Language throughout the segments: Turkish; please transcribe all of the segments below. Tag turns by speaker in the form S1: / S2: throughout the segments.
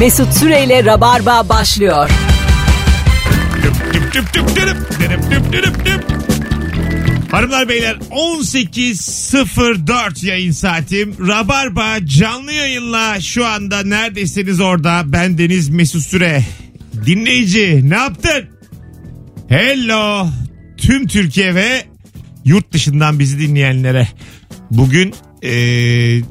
S1: Mesut Süreyle Rabarba başlıyor.
S2: Düp düp düp düp dürüp, dürüp düp dürüp düp. Hanımlar beyler 18.04 yayın saatim. Rabarba canlı yayınla şu anda neredesiniz orada. Ben Deniz Mesut Süre. Dinleyici ne yaptın? Hello tüm Türkiye ve yurt dışından bizi dinleyenlere. Bugün eee,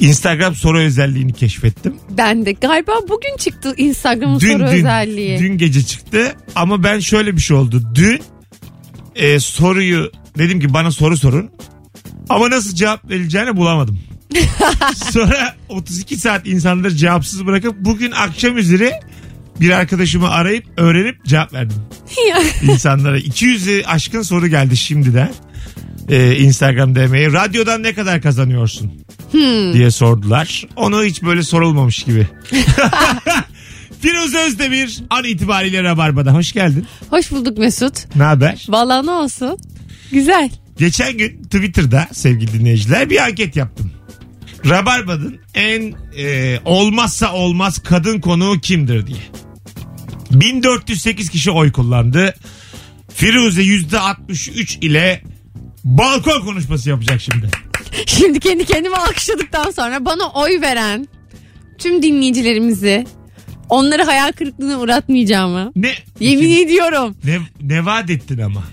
S2: Instagram soru özelliğini keşfettim.
S3: Ben de galiba bugün çıktı Instagram'ın
S2: dün,
S3: soru
S2: dün,
S3: özelliği.
S2: Dün gece çıktı ama ben şöyle bir şey oldu. Dün e, soruyu dedim ki bana soru sorun. Ama nasıl cevap verileceğini bulamadım. Sonra 32 saat insanları cevapsız bırakıp bugün akşam üzeri bir arkadaşımı arayıp öğrenip cevap verdim. İnsanlara 200'ü aşkın soru geldi şimdiden. E, Instagram DM'ye radyodan ne kadar kazanıyorsun diye sordular. Onu hiç böyle sorulmamış gibi. Firuze Özdemir an itibariyle Rabarba'da. Hoş geldin.
S3: Hoş bulduk Mesut.
S2: Ne haber?
S3: Valla ne olsun? Güzel.
S2: Geçen gün Twitter'da sevgili dinleyiciler bir anket yaptım. Rabarba'nın en e, olmazsa olmaz kadın konuğu kimdir diye. 1408 kişi oy kullandı. Firuze %63 ile balkon konuşması yapacak şimdi.
S3: Şimdi kendi kendime alkışladıktan sonra bana oy veren tüm dinleyicilerimizi onları hayal kırıklığına uğratmayacağımı
S2: Ne?
S3: yemin ediyorum.
S2: ne, ne vaat ettin ama?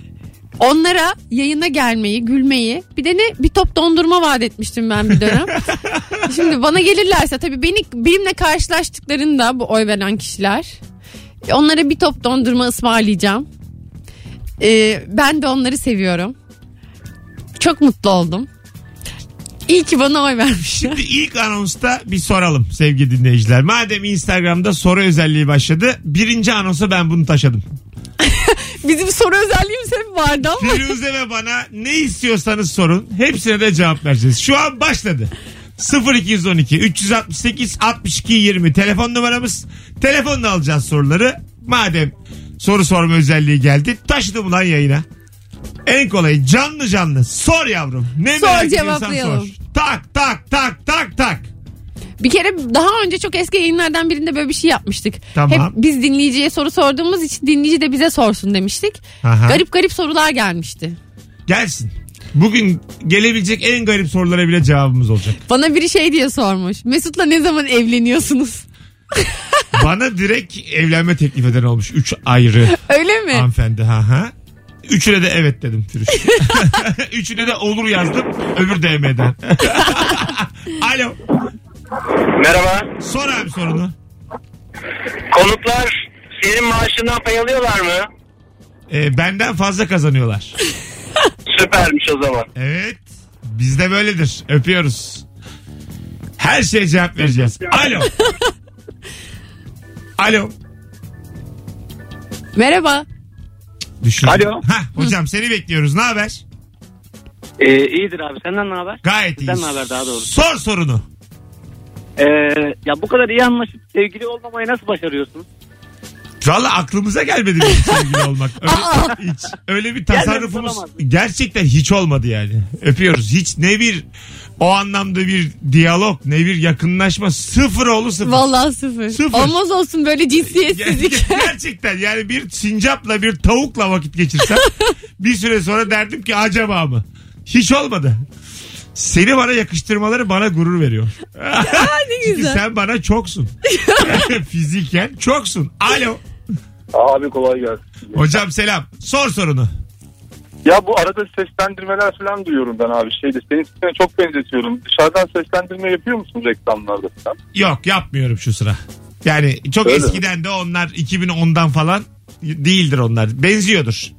S3: Onlara yayına gelmeyi, gülmeyi bir de ne bir top dondurma vaat etmiştim ben bir dönem. Şimdi bana gelirlerse tabii beni benimle karşılaştıklarında bu oy veren kişiler onlara bir top dondurma ısmarlayacağım. Ee, ben de onları seviyorum. Çok mutlu oldum. İyi ki bana oy vermişler.
S2: Şimdi ilk anonsta bir soralım sevgili dinleyiciler. Madem Instagram'da soru özelliği başladı. Birinci anonsa ben bunu taşıdım.
S3: Bizim soru özelliğimiz hep vardı ama
S2: Firuze ve bana ne istiyorsanız sorun. Hepsine de cevap vereceğiz. Şu an başladı. 0212 368 62 20 telefon numaramız. Telefonla alacağız soruları. Madem soru sorma özelliği geldi. Taşıdım lan yayına. En kolayı canlı canlı sor yavrum. Ne
S3: Sor,
S2: merak ediyorsan
S3: cevaplayalım.
S2: sor. Tak tak tak tak tak.
S3: bir kere daha önce çok eski yayınlardan birinde böyle bir şey yapmıştık.
S2: Tamam.
S3: Hep biz dinleyiciye soru sorduğumuz için dinleyici de bize sorsun demiştik.
S2: Aha.
S3: Garip garip sorular gelmişti.
S2: Gelsin. Bugün gelebilecek en garip sorulara bile cevabımız olacak.
S3: Bana biri şey diye sormuş. Mesut'la ne zaman evleniyorsunuz?
S2: Bana direkt evlenme teklif eden olmuş. Üç ayrı
S3: Öyle mi?
S2: hanımefendi. Ha ha. Üçüne de evet dedim Firuş. Üçüne de olur yazdım. Öbür DM'den. Alo.
S4: Merhaba.
S2: Sor abi sorunu.
S4: Konuklar senin maaşından pay alıyorlar mı?
S2: Ee, benden fazla kazanıyorlar.
S4: Süpermiş o zaman.
S2: Evet. Bizde böyledir. Öpüyoruz. Her şeye cevap vereceğiz. Alo. Alo.
S3: Merhaba.
S2: Düşün.
S5: Alo.
S2: Hah, hocam seni bekliyoruz. Ne haber?
S5: Ee, iyidir abi senden ne haber?
S2: Gayet iyi.
S5: Sizden ne haber daha doğrusu?
S2: Sor sorunu.
S5: Ee, ya bu kadar iyi anlaşıp sevgili olmamayı nasıl başarıyorsun?
S2: Valla aklımıza gelmedi benim sevgili olmak.
S3: Aa!
S2: Öyle, hiç, öyle bir tasarrufumuz
S5: Gelmez, olamaz.
S2: gerçekten hiç olmadı yani. Öpüyoruz. Hiç ne bir o anlamda bir diyalog ne bir yakınlaşma sıfır oğlu sıfır.
S3: Vallahi sıfır.
S2: Sıfır.
S3: Olmaz olsun böyle cinsiyetsizlik.
S2: Ger- gerçekten yani bir sincapla bir tavukla vakit geçirsem bir süre sonra derdim ki acaba mı? Hiç olmadı. Seni bana yakıştırmaları bana gurur veriyor.
S3: ne
S2: Çünkü
S3: güzel.
S2: sen bana çoksun. Fiziken çoksun. Alo.
S6: Abi kolay gelsin.
S2: Hocam selam. Sor sorunu.
S6: Ya bu arada seslendirmeler falan duyuyorum ben abi şeyde. Senin sesine çok benzetiyorum. Dışarıdan seslendirme yapıyor musun reklamlarda falan?
S2: Yok yapmıyorum şu sıra. Yani çok
S6: Öyle mi?
S2: eskiden de onlar 2010'dan falan değildir onlar. Benziyordur.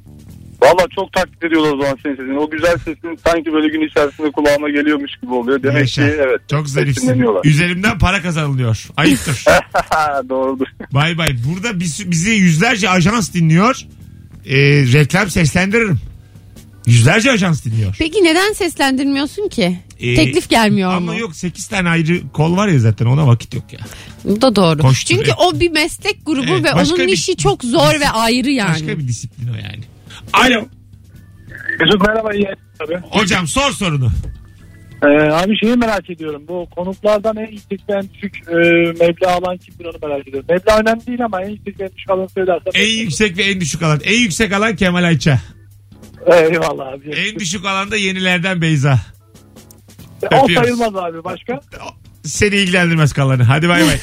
S6: Valla çok taklit ediyorlar o zaman senin sesini. O güzel sesin sanki böyle gün içerisinde kulağıma geliyormuş gibi oluyor. Demek
S2: Yaşa.
S6: ki evet.
S2: Çok zarifsin.
S6: Sesleniyorlar.
S2: Üzerimden para kazanılıyor. Ayıptır.
S6: Doğrudur.
S2: bay bay. Burada biz, bizi yüzlerce ajans dinliyor. Ee, reklam seslendiririm. Yüzlerce ajans dinliyor.
S3: Peki neden seslendirmiyorsun ki?
S2: Ee,
S3: Teklif gelmiyor
S2: Ama
S3: mu?
S2: yok 8 tane ayrı kol var ya zaten ona vakit yok ya.
S3: Bu da doğru.
S2: Koştur,
S3: Çünkü
S2: evet.
S3: o bir meslek grubu
S2: Evet,
S3: ve
S2: başka
S3: onun
S2: bir-
S3: işi çok zor ve ayrı yani.
S2: Başka bir disiplin o yani. Alo.
S6: Mesut merhaba iyi abi.
S2: Hocam sor sorunu.
S5: Ee, abi şeyi merak ediyorum. Bu konuklardan en yüksek ve en düşük e, meblağ alan kimdir onu merak ediyorum. Meblağ önemli değil ama en yüksek ve en düşük alanı söylersen.
S2: En yüksek ve en düşük alan. En yüksek alan Kemal Ayça.
S5: Eyvallah abi.
S2: En düşük alanda yenilerden Beyza.
S5: o
S2: öpüyoruz.
S5: sayılmaz abi başka.
S2: Seni ilgilendirmez kalanı. Hadi bay bay.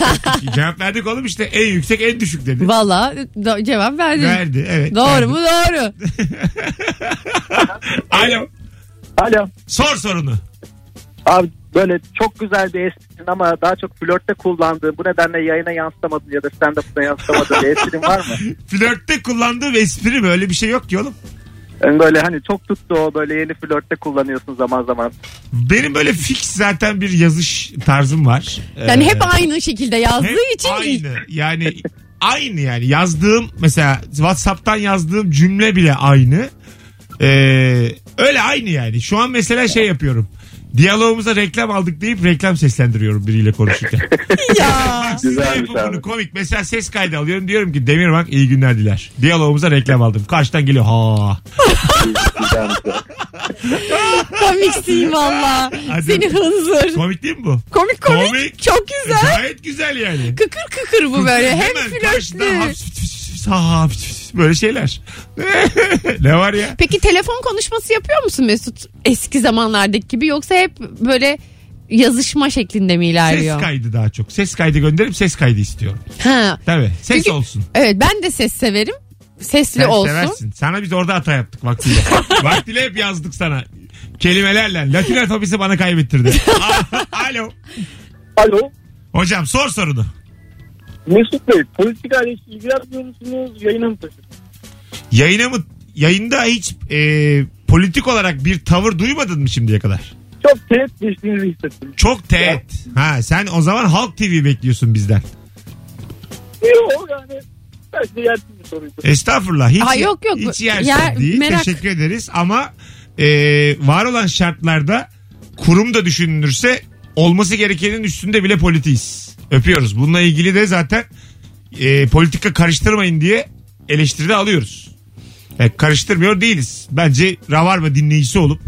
S2: Cevap verdik oğlum işte en yüksek en düşük dedi.
S3: Valla e, do- cevap verdin.
S2: Verdi evet.
S3: Doğru
S2: verdi.
S3: mu? Doğru.
S2: Alo.
S5: Alo.
S2: Sor sorunu.
S5: Abi böyle çok güzel bir esprin ama daha çok flörtte kullandığın bu nedenle yayına yansıtamadın ya da stand-up'ına yansıtamadın bir esprin var mı?
S2: Flörtte kullandığım espri mi? Öyle bir şey yok ki oğlum.
S5: Yani böyle hani çok tuttu o böyle yeni flörtte kullanıyorsun zaman zaman.
S2: Benim böyle fix zaten bir yazış tarzım var.
S3: Yani
S2: Ee,
S3: hep aynı şekilde yazdığı
S2: Hep
S3: için
S2: aynı. Yani aynı yani yazdığım mesela WhatsApp'tan yazdığım cümle bile aynı. Ee, öyle aynı yani. Şu an mesela şey yapıyorum. Diyalogumuza reklam aldık deyip reklam seslendiriyorum biriyle konuşurken.
S3: ya.
S2: Güzel
S6: Güzelmiş abi.
S2: komik. Mesela ses kaydı alıyorum diyorum ki Demir bak iyi günler diler. Diyalogumuza reklam aldım. Karşıdan geliyor ha.
S3: Komiksin valla.
S2: Hadi.
S3: Seni hınzır.
S2: Komik değil mi bu?
S3: Komik komik.
S2: Komik.
S3: Çok güzel.
S2: Gayet güzel yani.
S3: Kıkır kıkır bu böyle. Hem
S2: Hemen karşıdan
S3: flörtlü.
S2: haps- fıs- fıs- fıs- ha- fıs- fıs- böyle şeyler. ne var ya?
S3: Peki telefon konuşması yapıyor musun Mesut? Eski zamanlardaki gibi yoksa hep böyle yazışma şeklinde mi
S2: Ses
S3: ilerliyor?
S2: kaydı daha çok. Ses kaydı gönderip ses kaydı istiyorum.
S3: ha.
S2: Tabii. Ses
S3: Çünkü-
S2: olsun.
S3: Evet ben de ses severim. Sesli
S2: Sen
S3: olsun.
S2: seversin. Sana biz orada hata yaptık vaktiyle. vaktiyle hep yazdık sana. Kelimelerle. Latin alfabesi bana kaybettirdi. Alo.
S5: Alo.
S2: Hocam sor sorunu.
S5: Mesut Bey politika ile ilgilenmiyor musunuz? Yayına mı
S2: Yayına mı yayında hiç e, politik olarak bir tavır duymadın mı şimdiye kadar?
S5: Çok teğet geçtiğinizi hissettim.
S2: Çok teğet. Ha sen o zaman Halk TV bekliyorsun bizden.
S5: Yok yani. Belki de yersiz bir soruydu.
S2: Estağfurullah. Hiç,
S3: Aa, yok, yok.
S2: Hiç yersiz
S3: Yer-
S2: değil.
S3: merak.
S2: Teşekkür ederiz ama e, var olan şartlarda kurum da düşünülürse olması gerekenin üstünde bile politiyiz. Öpüyoruz. Bununla ilgili de zaten e, politika karıştırmayın diye eleştiride alıyoruz. E, karıştırmıyor değiliz. Bence Ravarma dinleyicisi olup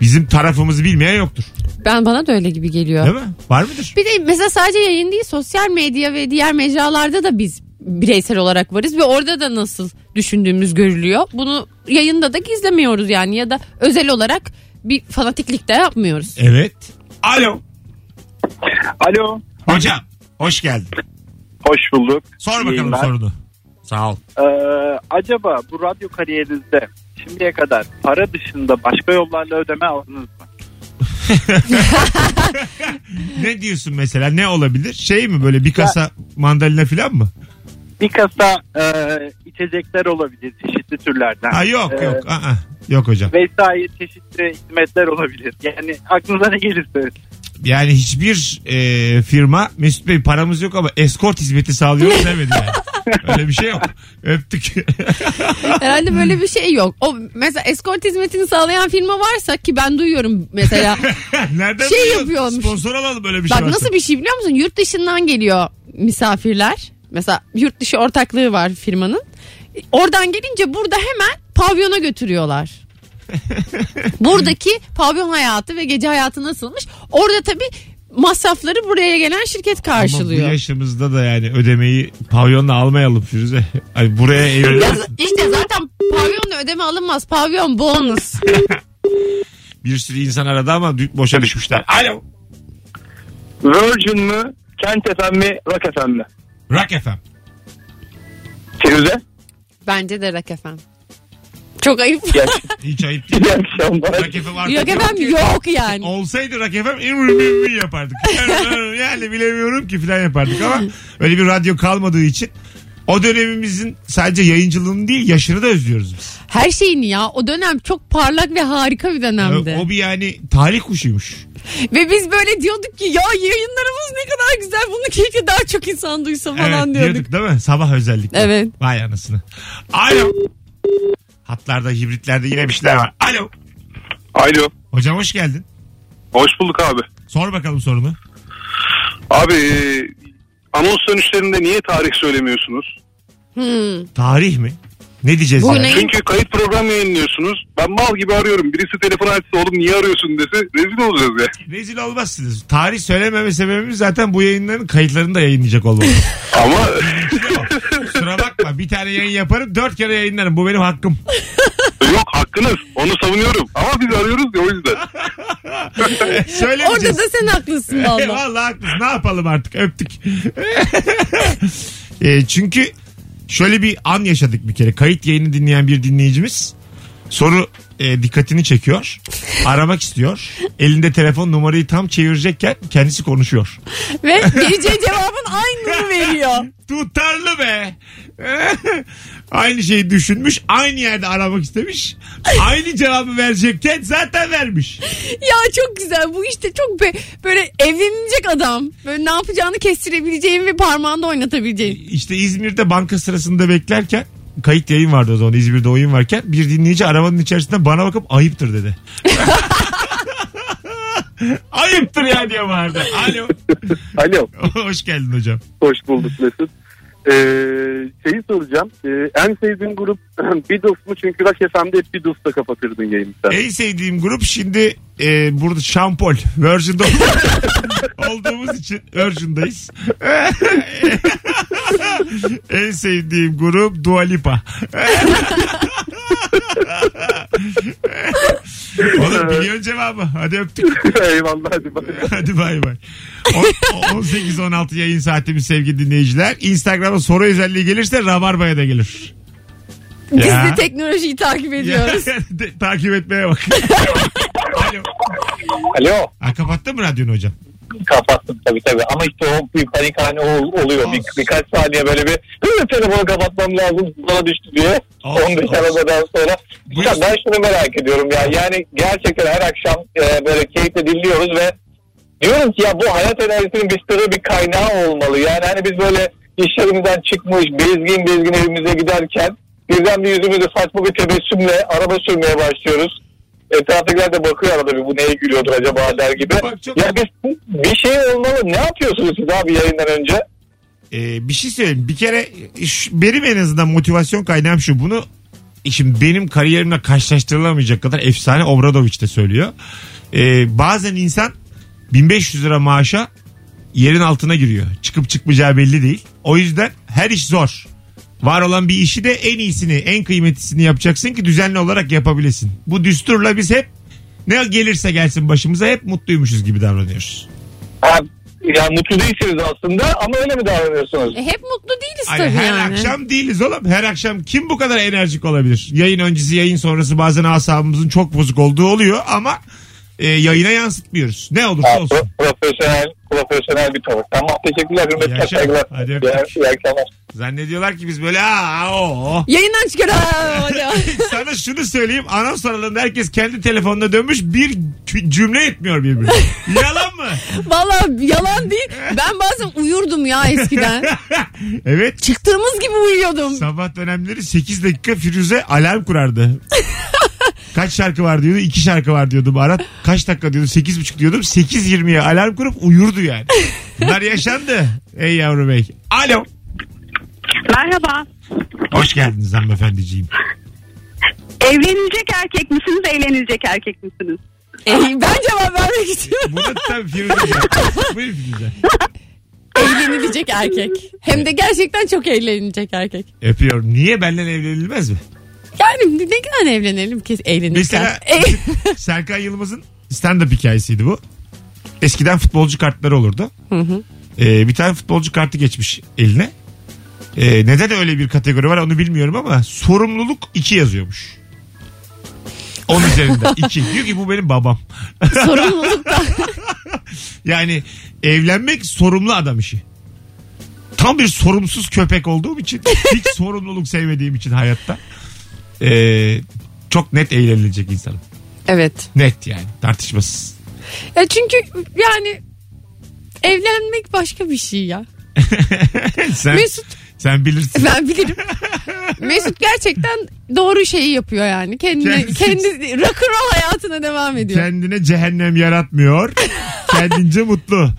S2: bizim tarafımızı bilmeyen yoktur.
S3: Ben bana da öyle gibi geliyor.
S2: Değil mi? Var mıdır?
S3: Bir de mesela sadece yayın değil sosyal medya ve diğer mecralarda da biz bireysel olarak varız ve orada da nasıl düşündüğümüz görülüyor. Bunu yayında da gizlemiyoruz yani ya da özel olarak bir fanatiklik de yapmıyoruz.
S2: Evet. Alo.
S6: Alo.
S2: Hocam. Hoş geldin.
S6: Hoş bulduk.
S2: Sor bakalım
S6: Yayınlar.
S2: sorunu. Sağ ol.
S5: Ee, acaba bu radyo kariyerinizde şimdiye kadar para dışında başka yollarla ödeme aldınız mı?
S2: Ne diyorsun mesela? Ne olabilir? Şey mi böyle bir kasa mandalina falan mı?
S5: Bir kasa e, içecekler olabilir çeşitli türlerden.
S2: Ha yok
S5: Ee,
S2: yok. Aa, yok hocam.
S5: Vesaire çeşitli hizmetler olabilir. Yani aklınıza ne gelirse.
S2: Yani hiçbir e, firma Mesut Bey paramız yok ama eskort hizmeti sağlıyoruz demedi yani. Öyle bir şey yok. Öptük.
S3: Herhalde böyle bir şey yok. O mesela eskort hizmetini sağlayan firma varsa ki ben duyuyorum mesela.
S2: Nereden
S3: Şey
S2: biliyorsun?
S3: yapıyormuş.
S2: Sponsor alalım böyle bir şey
S3: Bak
S2: varsa.
S3: nasıl bir şey biliyor musun? Yurt dışından geliyor misafirler. Mesela yurt dışı ortaklığı var firmanın. Oradan gelince burada hemen pavyona götürüyorlar. Buradaki pavyon hayatı ve gece hayatı nasılmış? Orada tabii masrafları buraya gelen şirket
S2: Ama bu
S3: karşılıyor.
S2: yaşımızda da yani ödemeyi pavyonla almayalım Firuze. Ay buraya
S3: Ya
S2: evleniriz.
S3: işte zaten pavyonla ödeme alınmaz. Pavyon bonus.
S2: bir sürü insan aradı ama dü- boşa düşmüşler. Alo.
S6: Virgin mı? Kent FM mi? Rock FM mi?
S2: Rock FM.
S6: Firuze.
S3: Bence de rak efendim. Çok ayıp.
S6: İyi,
S2: Hiç ayıp değil.
S6: iyi akşamlar.
S2: Rock FM artık
S3: Yok
S2: yok
S3: efendim
S2: ki.
S3: yok yani.
S2: Olsaydı Rock FM ıı, ıı, yapardık. yani bilemiyorum ki filan yapardık ama öyle bir radyo kalmadığı için o dönemimizin sadece yayıncılığını değil yaşını da özlüyoruz biz.
S3: Her şeyin ya o dönem çok parlak ve harika bir dönemdi.
S2: O bir yani talih kuşuymuş.
S3: Ve biz böyle diyorduk ki ya yayınlarımız ne kadar güzel bunu keşke daha çok insan duysa falan
S2: evet,
S3: diyorduk.
S2: diyorduk değil mi? Sabah özellikle.
S3: Evet.
S2: Vay anasını. Alo. Hatlarda hibritlerde yine bir şeyler var. Alo.
S6: Alo.
S2: Hocam hoş geldin.
S6: Hoş bulduk abi.
S2: Sor bakalım sorunu.
S6: Abi e, anons dönüşlerinde niye tarih söylemiyorsunuz?
S3: Hmm.
S2: Tarih mi? Ne diyeceğiz?
S3: Bu
S2: yani?
S3: ne?
S6: Çünkü kayıt program yayınlıyorsunuz. Ben mal gibi arıyorum. Birisi telefon açsa oğlum niye arıyorsun dese rezil olacağız ya.
S2: Rezil olmazsınız. Tarih söylememe sebebimiz zaten bu yayınların kayıtlarını da yayınlayacak olmamız.
S6: Ama
S2: Kusura bakma bir tane yayın yaparım dört kere yayınlarım. Bu benim hakkım.
S6: yok hakkınız. Onu savunuyorum. Ama biz arıyoruz ya o yüzden.
S2: Söylemeyeceğiz.
S3: Orada da sen haklısın
S2: E,
S3: valla.
S2: Vallahi haklısın. Ne yapalım artık? Öptük. E, çünkü şöyle bir an yaşadık bir kere. Kayıt yayını dinleyen bir dinleyicimiz soru e, dikkatini çekiyor. Aramak istiyor. Elinde telefon numarayı tam çevirecekken kendisi konuşuyor.
S3: Ve vereceği cevabın aynını veriyor.
S2: Tutarlı be. aynı şeyi düşünmüş. Aynı yerde aramak istemiş. Aynı cevabı verecekken zaten vermiş.
S3: Ya çok güzel bu işte çok be- böyle evlenecek adam. Böyle ne yapacağını kestirebileceğin ve parmağında oynatabileceğin.
S2: İşte İzmir'de banka sırasında beklerken kayıt yayın vardı o zaman İzmir'de oyun varken bir dinleyici arabanın içerisinden bana bakıp ayıptır dedi. ayıptır ya diye bağırdı. Alo.
S5: Alo.
S2: Hoş geldin hocam.
S5: Hoş bulduk Mesut. Ee, şeyi soracağım. Ee, en sevdiğin grup Beatles mu? Çünkü Rock FM'de hep Beatles'la kapatırdın yayını sen.
S2: En sevdiğim grup şimdi e, burada Şampol. Virgin'de olduğumuz için Virgin'dayız. en sevdiğim grup Dua Lipa. Oğlum biliyorsun cevabı. Hadi öptük.
S5: Eyvallah hadi bak.
S2: Hadi bay bay. On- 18-16 yayın saatimiz sevgili dinleyiciler. Instagram'a soru özelliği gelirse Rabarba'ya da gelir.
S3: Biz
S2: Ya.
S3: de teknolojiyi takip ediyoruz.
S2: De- takip etmeye bak. Alo.
S4: Alo.
S2: Ha, kapattın mı radyonu hocam?
S4: Kapattım tabii tabii. Ama işte o bir panik hani oluyor. Bir, birkaç saniye böyle bir "Hı, telefonu kapatmam lazım. Bana düştü diye.
S2: Olsun,
S4: 15
S2: olsun.
S4: arabadan sonra.
S2: Buyur.
S4: Ya ben şunu merak ediyorum ya. Yani gerçekten her akşam e, böyle keyifle dinliyoruz ve diyorum ki ya bu hayat enerjisinin bir sırrı bir kaynağı olmalı. Yani hani biz böyle işlerimizden çıkmış bezgin bezgin evimize giderken birden bir yüzümüzü saçma bir tebessümle araba sürmeye başlıyoruz. Etraftakiler de bakıyor arada bir bu neye gülüyordur acaba der gibi.
S2: Bak çok-
S4: Ya biz bir şey olmalı. Ne yapıyorsunuz siz abi yayından önce?
S2: Ee, bir şey söyleyeyim. Bir kere şu- benim en azından motivasyon kaynağım şu. Bunu şimdi benim kariyerimle karşılaştırılamayacak kadar efsane Obradoviç de söylüyor. Ee, bazen insan 1500 lira maaşa yerin altına giriyor. Çıkıp çıkmayacağı belli değil. O yüzden her iş zor. Var olan bir işi de en iyisini, en kıymetlisini yapacaksın ki düzenli olarak yapabilesin. Bu düsturla biz hep ne gelirse gelsin başımıza hep mutluymuşuz gibi davranıyoruz.
S4: Ha, ya mutlu değilsiniz aslında ama öyle mi davranıyorsunuz?
S3: E, hep mutlu değiliz
S2: Ay,
S3: tabii
S2: her
S3: yani.
S2: akşam değiliz oğlum. Her akşam kim bu kadar enerjik olabilir? Yayın öncesi, yayın sonrası bazen asabımızın çok bozuk olduğu oluyor ama e, yayına yansıtmıyoruz. Ne olursa
S4: Ha,
S2: olsun.
S4: pro- profesyonel, profesyonel bir tavır. Tamam teşekkürler. Hürmetler,
S2: Yaşa.
S4: saygılar.
S2: Hadi
S4: İyi,
S2: öptük.
S4: iyi akşamlar.
S2: Zannediyorlar ki biz böyle aa o.
S3: Yayından çıkar. "Aa, hadi."
S2: Sana şunu söyleyeyim. Anons aralığında herkes kendi telefonuna dönmüş bir kü- cümle etmiyor birbirine. Yalan mı?
S3: Valla yalan değil. Ben bazen uyurdum ya eskiden.
S2: evet.
S3: Çıktığımız gibi uyuyordum.
S2: Sabah dönemleri 8 dakika Firuze alarm kurardı. Kaç şarkı var diyordu? 2 şarkı var diyordum. Arat kaç dakika diyordu? 8.30 diyordum. 8.20'ye alarm kurup uyurdu yani. Bunlar yaşandı. Ey yavru bey. Alo.
S7: Merhaba.
S2: Hoş geldiniz hanımefendiciğim.
S7: Evlenilecek erkek misiniz, eğlenilecek erkek misiniz?
S3: E, ben cevap vermek istiyorum.
S2: Buna tabii Firuze. cevap. Buyur Firuze.
S3: Eğlenilecek erkek. Hem de gerçekten çok eğlenilecek erkek.
S2: Öpüyorum. Niye benden evlenilmez mi?
S3: Yani ne kadar evlenelim ki eğlenirken.
S2: Mesela
S3: E,
S2: Serkan Yılmaz'ın stand-up hikayesiydi bu. Eskiden futbolcu kartları olurdu. Ee, bir tane futbolcu kartı geçmiş eline. Ee, neden öyle bir kategori var onu bilmiyorum ama sorumluluk 2 yazıyormuş. 10 üzerinden 2. Diyor ki bu benim babam.
S3: sorumluluk da.
S2: Yani evlenmek sorumlu adam işi. Tam bir sorumsuz köpek olduğum için hiç sorumluluk sevmediğim için hayatta ee, çok net eğlenilecek insanım.
S3: Evet.
S2: Net yani tartışmasız.
S3: Ya E, çünkü yani evlenmek başka bir şey ya.
S2: sen,
S3: Mesut
S2: sen bilirsin.
S3: ben bilirim. Mesut gerçekten doğru şeyi yapıyor yani. Kendi
S2: Kendisi-
S3: kendi rock'n'roll hayatına devam ediyor.
S2: Kendine cehennem yaratmıyor. Kendince mutlu.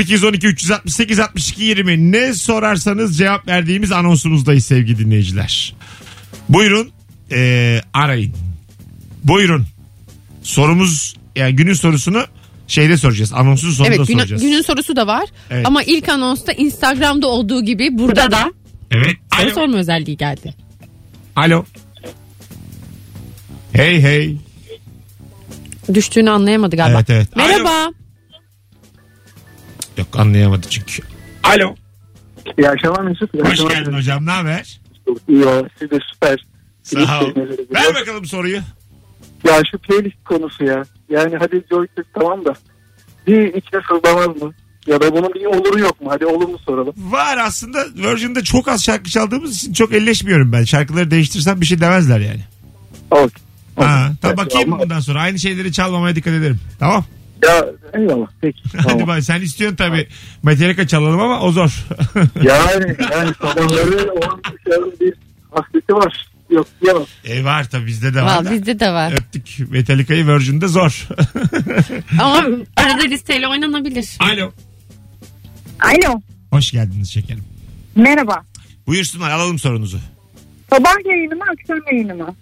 S2: 0212 368 62 20 ne sorarsanız cevap verdiğimiz anonsumuzdayız sevgili dinleyiciler. Buyurun e, arayın. Buyurun. Sorumuz yani günün sorusunu şeyde soracağız. Anonsun sonunda
S3: evet günü-
S2: soracağız.
S3: günün sorusu da var.
S2: Evet.
S3: Ama ilk anonsta Instagram'da olduğu gibi burada da
S2: Evet.
S3: soru
S2: Alo.
S3: sorma özelliği geldi.
S2: Alo. Hey hey.
S3: Düştüğünü anlayamadı galiba.
S2: Evet, evet.
S3: Merhaba.
S2: Yok anlayamadı çünkü. Alo.
S5: İyi akşamlar Mesut. İyi
S2: Hoş
S5: akşamlar.
S2: geldin hocam. Ne haber?
S5: İyi o. Siz de süper.
S2: Sağ ol.
S5: Teşekkür ederim.
S2: Ver bakalım soruyu.
S5: Ya şu playlist konusu ya. Yani hadi joystick tamam da. Bir içine sızlamaz mı? Ya da bunun bir oluru yok mu? Hadi olumlu soralım.
S2: Var aslında Virgin'de çok az şarkı çaldığımız için çok elleşmiyorum ben. Şarkıları değiştirsem bir şey demezler yani.
S5: Okey.
S2: Ha, tamam bakayım
S5: Ama-
S2: bundan sonra. Aynı şeyleri çalmamaya dikkat ederim. Tamam.
S5: Ya eyvallah. Peki.
S2: Hadi
S5: Tamam.
S2: bay. Sen istiyorsun tabii. Metallica çalalım ama o zor.
S5: yani, yani sabahları o şöyle bir hasreti var. Yok diyemem.
S2: e var tabii bizde de var.
S3: Valla
S2: da.
S3: bizde de var.
S2: Öptük. Metallica'yı Virgin'de zor.
S3: Ama arada listeyle oynanabilir.
S2: Alo.
S7: Alo.
S2: Hoş geldiniz şekerim.
S7: Merhaba.
S2: Buyursunlar alalım sorunuzu.
S7: Sabah yayını mı akşam yayını mı?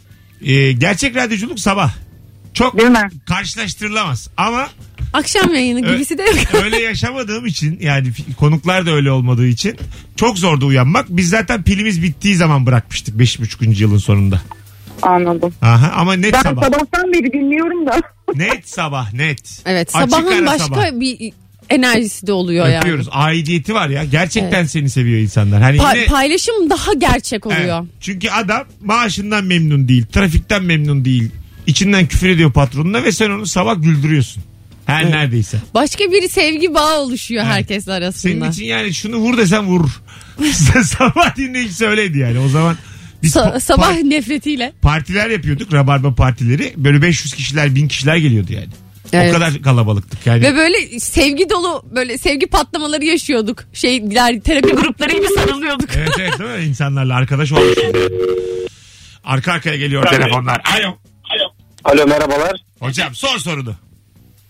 S2: Ee, gerçek radyoculuk sabah. Çok
S7: Değil mi?
S2: karşılaştırılamaz ama
S3: Akşam yayını
S2: Ö-
S3: gibisi de yok.
S2: öyle yaşamadığım için yani fi- konuklar da öyle olmadığı için çok zordu uyanmak. Biz zaten pilimiz bittiği zaman bırakmıştık 5,5. yılın sonunda.
S7: Anladım.
S2: Aha, ama net
S7: Ben
S2: sabah.
S7: sabahtan beri dinliyorum da.
S2: Net sabah net.
S3: Evet
S2: Açık
S3: sabahın
S2: ara
S3: başka
S2: sabah.
S3: bir enerjisi de oluyor yani.
S2: Öpüyoruz. Aidiyeti var ya. Gerçekten seni seviyor insanlar. Hani
S3: Pa-
S2: yine-
S3: paylaşım daha gerçek
S2: Evet.
S3: oluyor.
S2: Çünkü adam maaşından memnun değil. Trafikten memnun değil. İçinden küfür ediyor patronuna ve sen onu sabah güldürüyorsun. Her neredeyse.
S3: Başka bir sevgi bağı oluşuyor herkes arasında.
S2: Senin için yani şunu vur desem vurur. sabah dinleyicisi öyleydi yani. O zaman biz
S3: Sa-
S2: pa-
S3: sabah
S2: par-
S3: nefretiyle.
S2: partiler yapıyorduk. Rabarba partileri. Böyle 500 kişiler, 1000 kişiler geliyordu yani.
S3: Evet.
S2: O kadar kalabalıktık yani.
S3: Ve böyle sevgi dolu böyle sevgi patlamaları yaşıyorduk. Şeyler terapi grupları gibi sarılıyorduk.
S2: evet evet değil mi? İnsanlarla arkadaş olmuşuz. Arka arkaya geliyor telefonlar. Alo.
S4: Alo merhabalar.
S2: Hocam sor sorunu.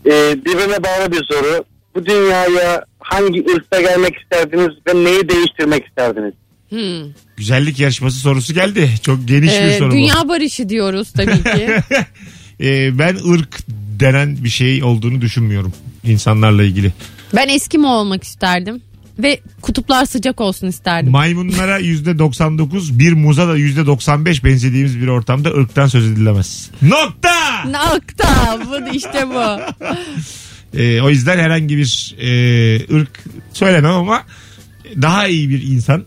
S4: Ee, birbirine bağlı bir soru. Bu dünyaya hangi ırkta gelmek isterdiniz ve neyi değiştirmek isterdiniz?
S3: Hmm.
S2: Güzellik yarışması sorusu geldi. Çok geniş bir
S3: Ee,
S2: soru bu.
S3: dünya barışı diyoruz tabii ki.
S2: Ee, ben ırk denen bir şey olduğunu düşünmüyorum insanlarla ilgili.
S3: ben Eskimo olmak isterdim. Ve kutuplar sıcak olsun isterdim.
S2: Maymunlara yüzde 99, bir muza da yüzde 95 benzediğimiz bir ortamda ırktan söz edilemez. Nokta!
S3: Nokta bu işte bu.
S2: Ee, o yüzden herhangi bir e, ırk söylemem ama daha iyi bir insan,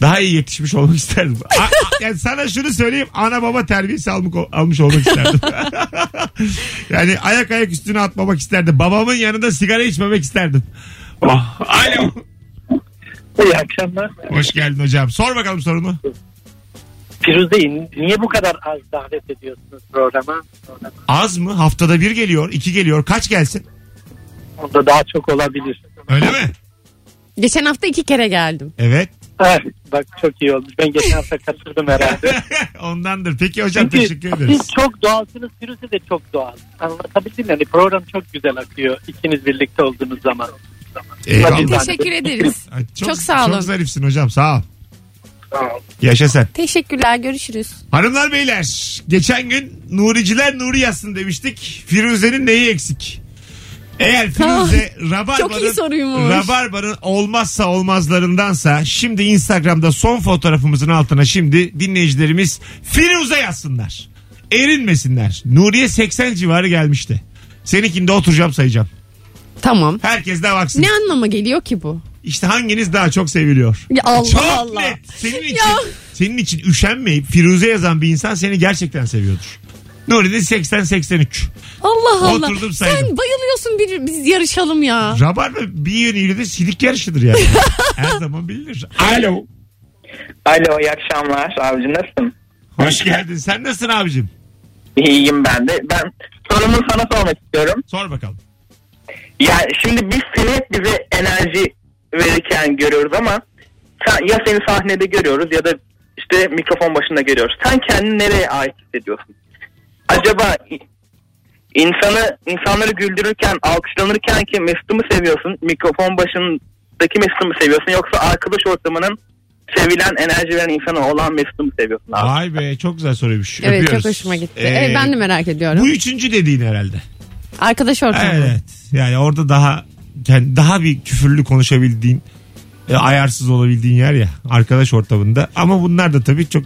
S2: daha iyi yetişmiş olmak isterdim. A- a- yani sana şunu söyleyeyim, ana baba terbiyesi almak, almış olmak isterdim. yani ayak ayak üstüne atmamak isterdim. Babamın yanında sigara içmemek isterdim. Oh, alo.
S5: İyi akşamlar.
S2: Hoş geldin hocam. Sor bakalım sorunu.
S5: Firuze niye bu kadar az davet ediyorsunuz programa?
S2: Az mı? Haftada bir geliyor, iki geliyor. Kaç gelsin?
S5: Onda daha çok olabilir.
S2: Öyle mi?
S3: Geçen hafta iki kere geldim.
S2: Evet.
S5: bak çok iyi olmuş. Ben geçen hafta kaçırdım herhalde.
S2: Ondandır. Peki hocam teşekkür ederiz.
S5: Siz çok doğalsınız. Firuze de çok doğal. Anlatabildim yani program çok güzel akıyor. ikiniz birlikte olduğunuz zaman.
S2: Eyvallah.
S3: Teşekkür ederiz.
S2: Ay,
S3: Çok sağ olun.
S2: Çok zarifsin hocam. Sağ ol. Yaşa sen.
S3: Teşekkürler görüşürüz.
S2: Hanımlar beyler geçen gün Nuriciler Nuri yazsın demiştik. Firuze'nin neyi eksik? Eğer Firuze
S3: çok iyi
S2: Rabarba'nın,
S3: soruymuş.
S2: Rabarba'nın olmazsa olmazlarındansa şimdi Instagram'da son fotoğrafımızın altına şimdi dinleyicilerimiz Firuze yazsınlar. Erinmesinler. Nuriye 80 civarı gelmişti. Seninkinde oturacağım sayacağım.
S3: Tamam.
S2: Herkes de baksın.
S3: Ne anlama geliyor ki bu?
S2: İşte hanginiz daha çok seviliyor?
S3: Ya Allah
S2: çok
S3: Allah.
S2: net. Senin için,
S3: Ya.
S2: senin için üşenmeyip Firuze yazan bir insan seni gerçekten seviyordur. Nuri de 80-83.
S3: Allah Allah.
S2: Oturdum saydım.
S3: Sen bayılıyorsun bir biz yarışalım ya.
S2: Rabarba bir yönüyle de silik yarışıdır yani. Her zaman bilinir. Alo.
S8: Alo iyi akşamlar abici nasılsın?
S2: Hoş geldin. Sen nasılsın abicim?
S8: İyiyim ben de. Ben sorumu sana sormak istiyorum.
S2: Sor bakalım.
S8: Yani şimdi biz seni hep bize enerji verirken görüyoruz ama sen, ya seni sahnede görüyoruz ya da işte mikrofon başında görüyoruz. Sen kendini nereye ait hissediyorsun? Acaba i- insanı insanları güldürürken, alkışlanırken ki Mesut'u mu seviyorsun? Mikrofon başındaki Mesut'u mu seviyorsun? Yoksa arkadaş ortamının sevilen, enerji veren insana olan Mesut'u mu seviyorsun abi?
S2: Vay be çok güzel soruymuş.
S3: Evet
S2: Öpüyoruz.
S3: çok hoşuma gitti.
S2: Ee,
S3: Evet, ben de merak ediyorum.
S2: Bu üçüncü dediğin herhalde.
S3: Arkadaş ortamı.
S2: Evet. Yani orada daha yani daha bir küfürlü konuşabildiğin, e, ayarsız olabildiğin yer ya arkadaş ortamında. Ama bunlar da tabii çok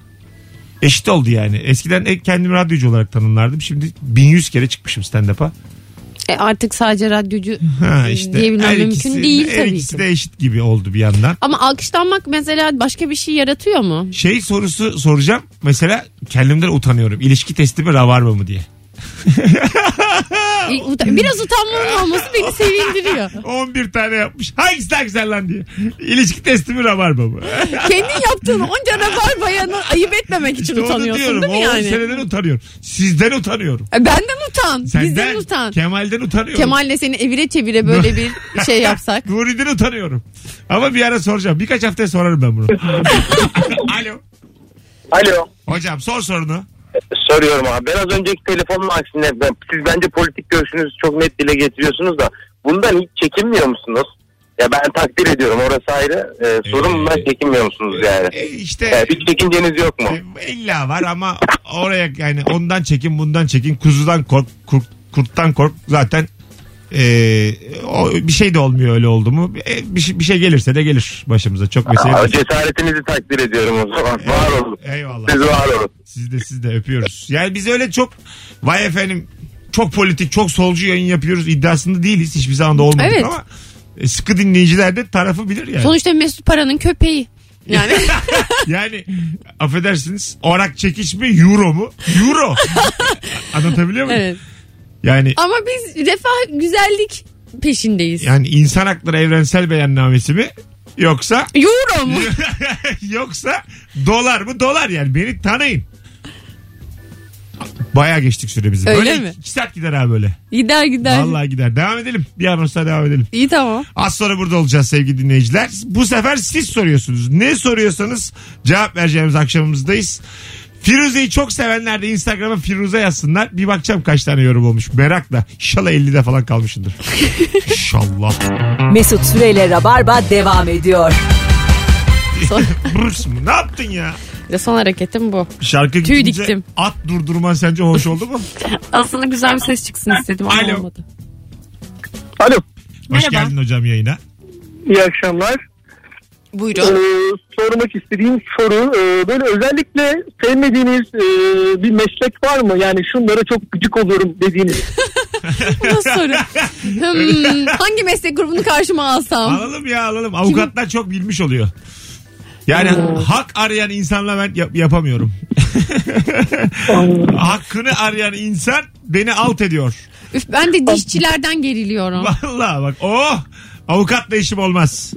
S2: eşit oldu yani. Eskiden hep kendimi radyocu olarak tanımlardım. Şimdi 1100 kere çıkmışım stand-up'a.
S3: E, artık sadece radyocu
S2: Ha işte.
S3: Hmm, diyebilmem
S2: Her
S3: mümkün
S2: ikisi-
S3: değil
S2: Her
S3: tabii
S2: ikisi
S3: ki.
S2: de eşit gibi oldu bir yandan.
S3: Ama alkışlanmak mesela başka bir şey yaratıyor mu?
S2: Şey sorusu soracağım. Mesela kendimden utanıyorum. İlişki testi mi rabarba mı diye.
S3: E, uta- Biraz utanmanın olması beni sevindiriyor.
S2: 11 tane yapmış. Hangisi daha güzel lan diye. İlişki testi mi rabarba mı?
S3: Kendin yaptığın onca rabar bayanı ayıp etmemek için
S2: İşte onu
S3: utanıyorsun
S2: diyorum.
S3: değil mi
S2: O on
S3: yani?
S2: seneden utanıyorum. Sizden utanıyorum.
S3: E, Benden utan.
S2: Senden,
S3: Bizden utan.
S2: Kemal'den utanıyorum.
S3: Kemal'le seni evire çevire böyle bir şey yapsak.
S2: Nuri'den utanıyorum. Ama bir ara soracağım. Birkaç haftaya sorarım ben bunu. Alo.
S8: Alo.
S2: Hocam sor sorunu.
S8: Soruyorum abi. Ben az önceki telefonun aksine ben, siz bence politik görüşünüzü çok net dile getiriyorsunuz da bundan hiç çekinmiyor musunuz? Ya ben takdir ediyorum orası ayrı. Ee, sorun
S2: Ee,
S8: bundan çekinmiyor musunuz yani?
S2: E, işte
S8: Ee, bir çekinceniz yok mu?
S2: e, illa var ama oraya yani ondan çekin bundan çekin. Kuzudan kork, kurt, kurttan kork. Zaten e, o, bir şey de olmuyor öyle oldu mu. E, bir, şey- bir şey gelirse de gelir başımıza. Çok mesele.
S8: Aa,
S2: değil.
S8: cesaretinizi takdir ediyorum o zaman. Var olun.
S2: Eyvallah.
S8: Siz var olun.
S2: Siz de siz de öpüyoruz. Yani biz öyle çok vay efendim çok politik çok solcu yayın yapıyoruz iddiasında değiliz. Hiçbir zaman da olmadık
S3: Evet.
S2: ama e, sıkı dinleyiciler de tarafı bilir yani.
S3: Sonuçta Mesut Paran'ın köpeği. Yani
S2: yani affedersiniz orak çekiş mi euro mu? Euro. Anlatabiliyor muyum?
S3: evet.
S2: Yani
S3: Ama biz refah güzellik peşindeyiz.
S2: yani insan hakları evrensel beyannamesi mi? Yoksa
S3: Euro mu?
S2: yoksa dolar mı? Dolar yani beni tanıyın. Bayağı geçtik süremizi.
S3: Öyle
S2: böyle
S3: mi?
S2: iki saat gider abi böyle.
S3: Gider gider.
S2: Vallahi gider. Devam edelim. Diğer anonsla devam edelim.
S3: İyi tamam.
S2: Az sonra burada olacağız sevgili dinleyiciler. Bu sefer siz soruyorsunuz. Ne soruyorsanız cevap vereceğimiz akşamımızdayız. Firuze'yi çok sevenler de Instagram'a Firuze yazsınlar. Bir bakacağım kaç tane yorum olmuş. Merakla. İnşallah 50'de falan kalmışındır. İnşallah.
S1: Mesut Süreyle Rabarba devam ediyor.
S2: Bruce mu? Ne yaptın ya?
S3: Ve son hareketim bu.
S2: Şarkı
S3: Tüy
S2: gidince
S3: diktim.
S2: at durdurman sence hoş oldu mu?
S3: Aslında güzel bir ses çıksın istedim
S2: ama Alo. olmadı. Hoş geldin hocam yayına.
S5: İyi akşamlar. Ee,
S3: Buyurun.
S5: sormak istediğim soru e, böyle özellikle sevmediğiniz e, bir meslek var mı? Yani şunlara çok gıcık oluyorum dediğiniz.
S3: Nasıl soru? Hmm, hangi meslek grubunu karşıma alsam?
S2: Alalım ya alalım. Avukatlar çok bilmiş oluyor. Yani hak arayan insanla ben yap- yapamıyorum. Hakkını arayan insan beni alt ediyor.
S3: Üf, ben de dişçilerden geriliyorum.
S2: Vallahi bak oh avukatla işim olmaz.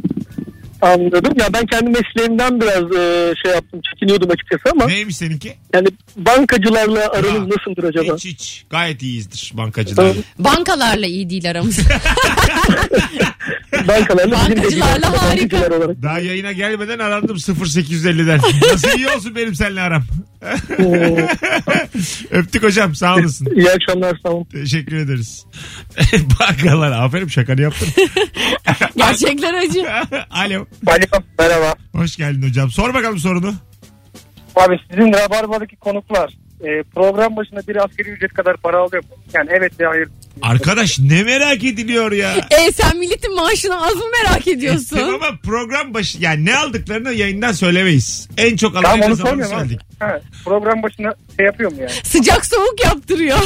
S5: Anladım. Ya ben kendi mesleğimden biraz e, şey yaptım, çekiniyordum açıkçası ama
S2: Neymiş seninki?
S5: yani bankacılarla aranız
S2: Ya,
S5: nasıldır acaba?
S2: Hiç hiç gayet iyiyizdir bankacılar.
S3: Bankalarla iyi değil aramız.
S5: Bankalarla bizim
S3: Bankacılarla
S5: dediğimiz
S3: harika.
S5: bankacılar olarak.
S2: Daha yayına gelmeden arandım 0850'den. Nasıl iyi olsun benim seninle aram. Öptük hocam sağ olasın.
S5: İyi akşamlar sağ olun.
S2: Teşekkür ederiz. Bankalar aferin şakanı yaptın.
S3: Gerçekler acı.
S2: Alo.
S4: Alo merhaba.
S2: Hoş geldin hocam. Sor bakalım sorunu.
S5: Abi sizin Rabarba'daki konuklar e, program başına bir askeri ücret kadar para alıyor mu? Yani evet ve hayır.
S2: Arkadaş ne merak ediliyor ya.
S3: E sen milletin maaşını az mı merak
S2: Ettim
S3: ediyorsun?
S2: ama program başı yani ne aldıklarını yayından söylemeyiz. En çok alan
S5: Tamam
S2: en
S5: onu
S2: az alanı
S5: sormuyorum abi.
S2: söyledik.
S5: Ha, program başına şey yapıyor mu yani?
S3: Sıcak soğuk yaptırıyor.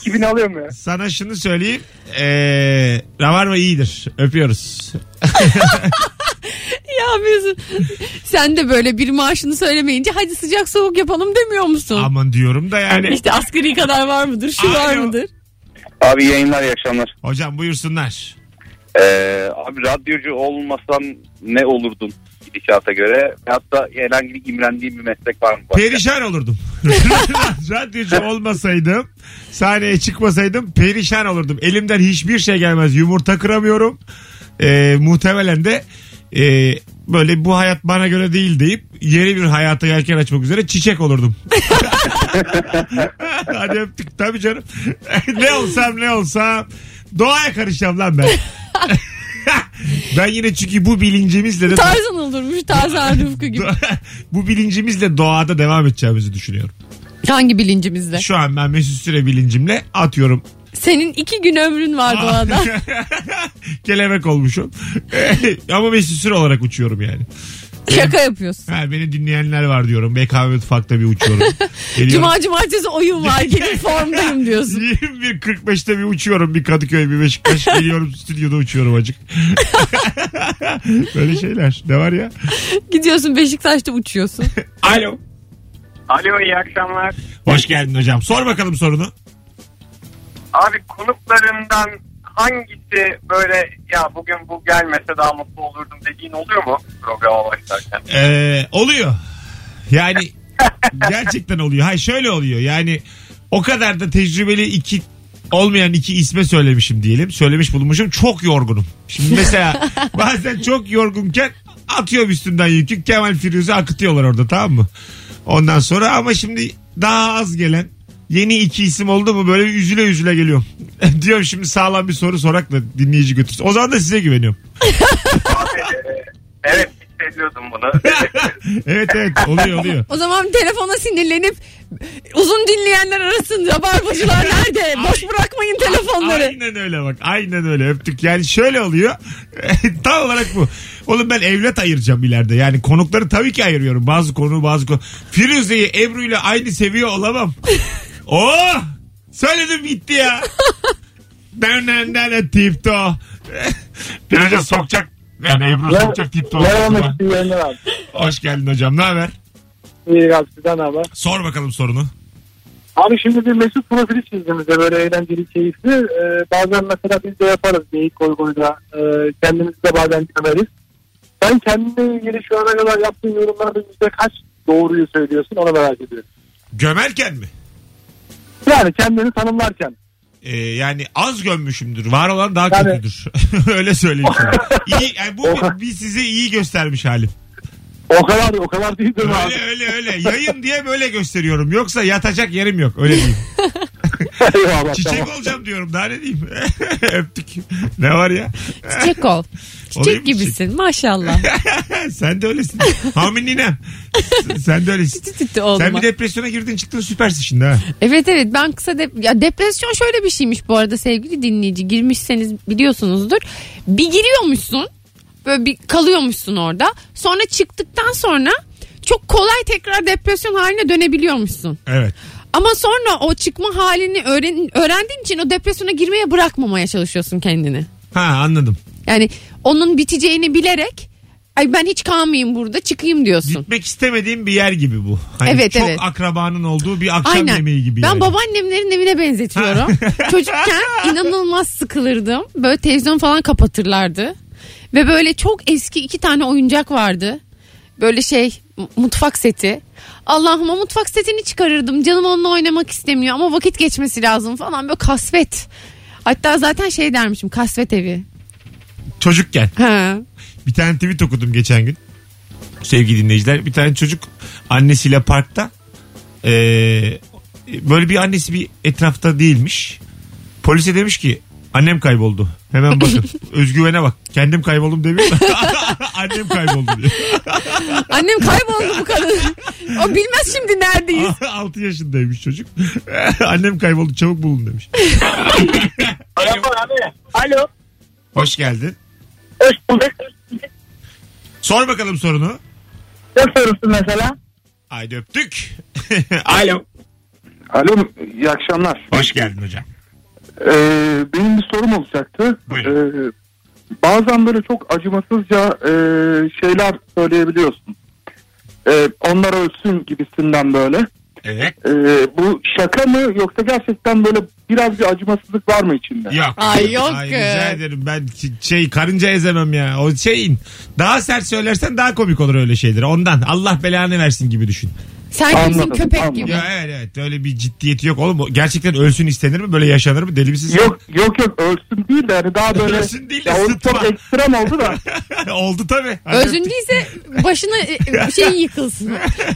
S5: 2000 alıyor mu ya?
S2: Sana şunu söyleyeyim. Ee, Ravarma iyidir. Öpüyoruz.
S3: ya Mesut sen de böyle bir maaşını söylemeyince hadi sıcak soğuk yapalım demiyor musun?
S2: Aman diyorum da yani.
S3: İşte asgari kadar var mıdır? Şu var
S2: Hani- Alo.
S3: mıdır?
S9: Abi yayınlar iyi akşamlar.
S2: Hocam buyursunlar.
S9: Ee, abi radyocu olmasan ne olurdun gidişata göre? Hatta herhangi bir imrendiğin bir meslek var mı?
S2: Perişan olurdum. Radyocu olmasaydım, sahneye çıkmasaydım perişan olurdum. Elimden hiçbir şey gelmez. Yumurta kıramıyorum. Ee, muhtemelen de e, böyle bu hayat bana göre değil deyip yeni bir hayata yelken açmak üzere çiçek olurdum. Hadi öptük tabii canım. ne olsam ne olsam doğaya karışacağım lan ben. ben yine çünkü bu bilincimizle de
S3: Tarzan olurmuş Tarzan Rıfkı gibi.
S2: bu bilincimizle doğada devam edeceğimizi düşünüyorum.
S3: Hangi bilincimizde?
S2: Şu an ben Mesut Süre bilincimle atıyorum.
S3: Senin iki gün ömrün var doğada.
S2: Kelebek olmuşum. Ama Mesut Süre olarak uçuyorum yani.
S3: Şaka yapıyorsun.
S2: Ha, beni dinleyenler var diyorum. BKM mutfakta bir uçuyorum. Geliyorum.
S3: Cuma cumartesi oyun var gelin formdayım diyorsun.
S2: 21.45'te bir uçuyorum bir Kadıköy bir Beşiktaş geliyorum stüdyoda uçuyorum acık. Böyle şeyler ne var ya.
S3: Gidiyorsun Beşiktaş'ta uçuyorsun.
S2: Alo.
S5: Alo iyi akşamlar.
S2: Hoş geldin hocam. Sor bakalım sorunu.
S5: Abi konuklarından hangisi böyle ya bugün bu gelmese daha mutlu olurdum dediğin oluyor mu programa başlarken?
S2: Ee, oluyor. Yani gerçekten oluyor. Hayır şöyle oluyor. Yani o kadar da tecrübeli iki olmayan iki isme söylemişim diyelim. Söylemiş bulunmuşum. Çok yorgunum. Şimdi mesela bazen çok yorgunken atıyorum üstümden yükü. Kemal Firuz'u akıtıyorlar orada tamam mı? Ondan sonra ama şimdi daha az gelen yeni iki isim oldu mu böyle üzüle üzüle geliyorum. Diyorum şimdi sağlam bir soru sorak da dinleyici götürsün. O zaman da size güveniyorum.
S5: Evet hissediyordum bunu.
S2: Evet evet oluyor oluyor.
S3: O zaman telefona sinirlenip uzun dinleyenler arasın. Rabarbacılar nerede? Boş bırakmayın telefonları.
S2: Aynen öyle bak. Aynen öyle öptük. Yani şöyle oluyor. Tam olarak bu. Oğlum ben evlat ayıracağım ileride. Yani konukları tabii ki ayırıyorum. Bazı konu bazı konu. Firuze'yi Ebru ile aynı seviye olamam. oh! Söyledim gitti ya. Dönenden tipto. Firuze sokacak. Yani Ebru sokacak tipto.
S5: Merhaba Yayınlar abi.
S2: Hoş geldin hocam. Ne haber?
S5: İyi abi sizden abi.
S2: Sor bakalım sorunu.
S5: Abi şimdi bir Mesut profili çizdiğimizde böyle eğlenceli, keyifli. Ee, bazen mesela biz de yaparız geyik koy koyda. Ee, kendimizi de bazen gömeriz. Sen kendine ilgili şu ana kadar yaptığın yorumlarda yüzde kaç doğruyu söylüyorsun onu merak ediyorum.
S2: Gömerken mi?
S5: Yani kendini tanımlarken.
S2: Ee, yani az gömmüşümdür. Var olan daha
S5: Yani-
S2: kötüdür. Öyle söyleyeyim sana. İyi, yani bu bir, bir size iyi göstermiş halim.
S5: O kadar o kadar değil mi abi?
S2: Öyle öyle öyle. Yayın diye böyle gösteriyorum. Yoksa yatacak yerim yok. Öyle diyeyim.
S5: Eyvallah,
S2: Çiçek
S5: tamam.
S2: olacağım diyorum. Daha ne diyeyim? Öptük. Ne var ya?
S3: Çiçek ol.
S2: Olayım
S3: Çiçek
S2: mı çiçek?
S3: gibisin maşallah.
S2: Sen de öylesin. Hamininem. Sen de öylesin.
S3: Titi titi olma.
S2: Sen bir depresyona girdin çıktın süpersin şimdi ha.
S3: Evet evet ben kısa dep ya depresyon şöyle bir şeymiş bu arada sevgili dinleyici girmişseniz biliyorsunuzdur. Bir giriyormuşsun böyle bir kalıyormuşsun orada sonra çıktıktan sonra çok kolay tekrar depresyon haline dönebiliyormuşsun.
S2: Evet.
S3: Ama sonra o çıkma halini öğren öğrendiğin için o depresyona girmeye bırakmamaya çalışıyorsun kendini.
S2: Ha anladım.
S3: Yani onun biteceğini bilerek ay ben hiç kalmayayım burada çıkayım diyorsun.
S2: Gitmek istemediğim bir yer gibi bu. Hani
S3: Evet,
S2: çok
S3: evet.
S2: akrabanın olduğu bir akşam
S3: Aynen.
S2: yemeği gibi.
S3: ben
S2: yani.
S3: babaannemlerin evine benzetiyorum. Çocukken inanılmaz sıkılırdım. Böyle televizyon falan kapatırlardı. Ve böyle çok eski iki tane oyuncak vardı. Böyle şey m- mutfak seti. Allah'ıma mutfak setini çıkarırdım. Canım onunla oynamak istemiyor ama vakit geçmesi lazım falan. Böyle kasvet. Hatta zaten şey dermişim kasvet evi.
S2: Çocukken.
S3: Ha.
S2: Bir tane tweet okudum geçen gün. Sevgili dinleyiciler. Bir tane çocuk annesiyle parkta. eee, böyle bir annesi bir etrafta değilmiş. Polise demiş ki annem kayboldu. Hemen bakın. Özgüvene bak. Kendim kayboldum demiyor da. annem kayboldu diyor.
S3: Annem kayboldu bu kadın. o bilmez şimdi neredeyiz.
S2: 6 yaşındaymış çocuk. annem kayboldu çabuk bulun demiş.
S7: Alo.
S2: Hoş geldin.
S7: Hoş bulduk.
S2: Sor bakalım sorunu.
S7: Ne sorusu mesela?
S2: Haydi öptük. Alo.
S6: Alo iyi akşamlar.
S2: Hoş geldin hocam.
S6: Ee, benim bir sorum olacaktı.
S2: Buyurun.
S6: Ee, bazen böyle çok acımasızca e, şeyler söyleyebiliyorsun. Ee, onlara ölsün gibisinden böyle.
S2: Evet.
S6: Ee, bu şaka mı yoksa gerçekten böyle biraz bir acımasızlık var mı içinde?
S2: Yok.
S3: Ay yok.
S2: rica ederim ben ç- şey karınca ezemem ya. O şeyin daha sert söylersen daha komik olur öyle şeyleri. Ondan Allah belanı versin gibi düşün.
S3: Sen kimsin
S6: Anladım,
S3: köpek
S6: anladım.
S3: gibi.
S2: Ya evet evet öyle bir ciddiyeti yok oğlum. O Gerçekten ölsün istenir mi? Böyle yaşanır mı? Deli misin? sen?
S6: Yok yok yok ölsün değil de hani daha böyle.
S2: Ölsün değil de
S6: Ya o
S2: sıtma.
S6: çok ekstrem oldu da.
S2: Oldu tabii.
S3: Özün değilse başına e, şey yıkılsın.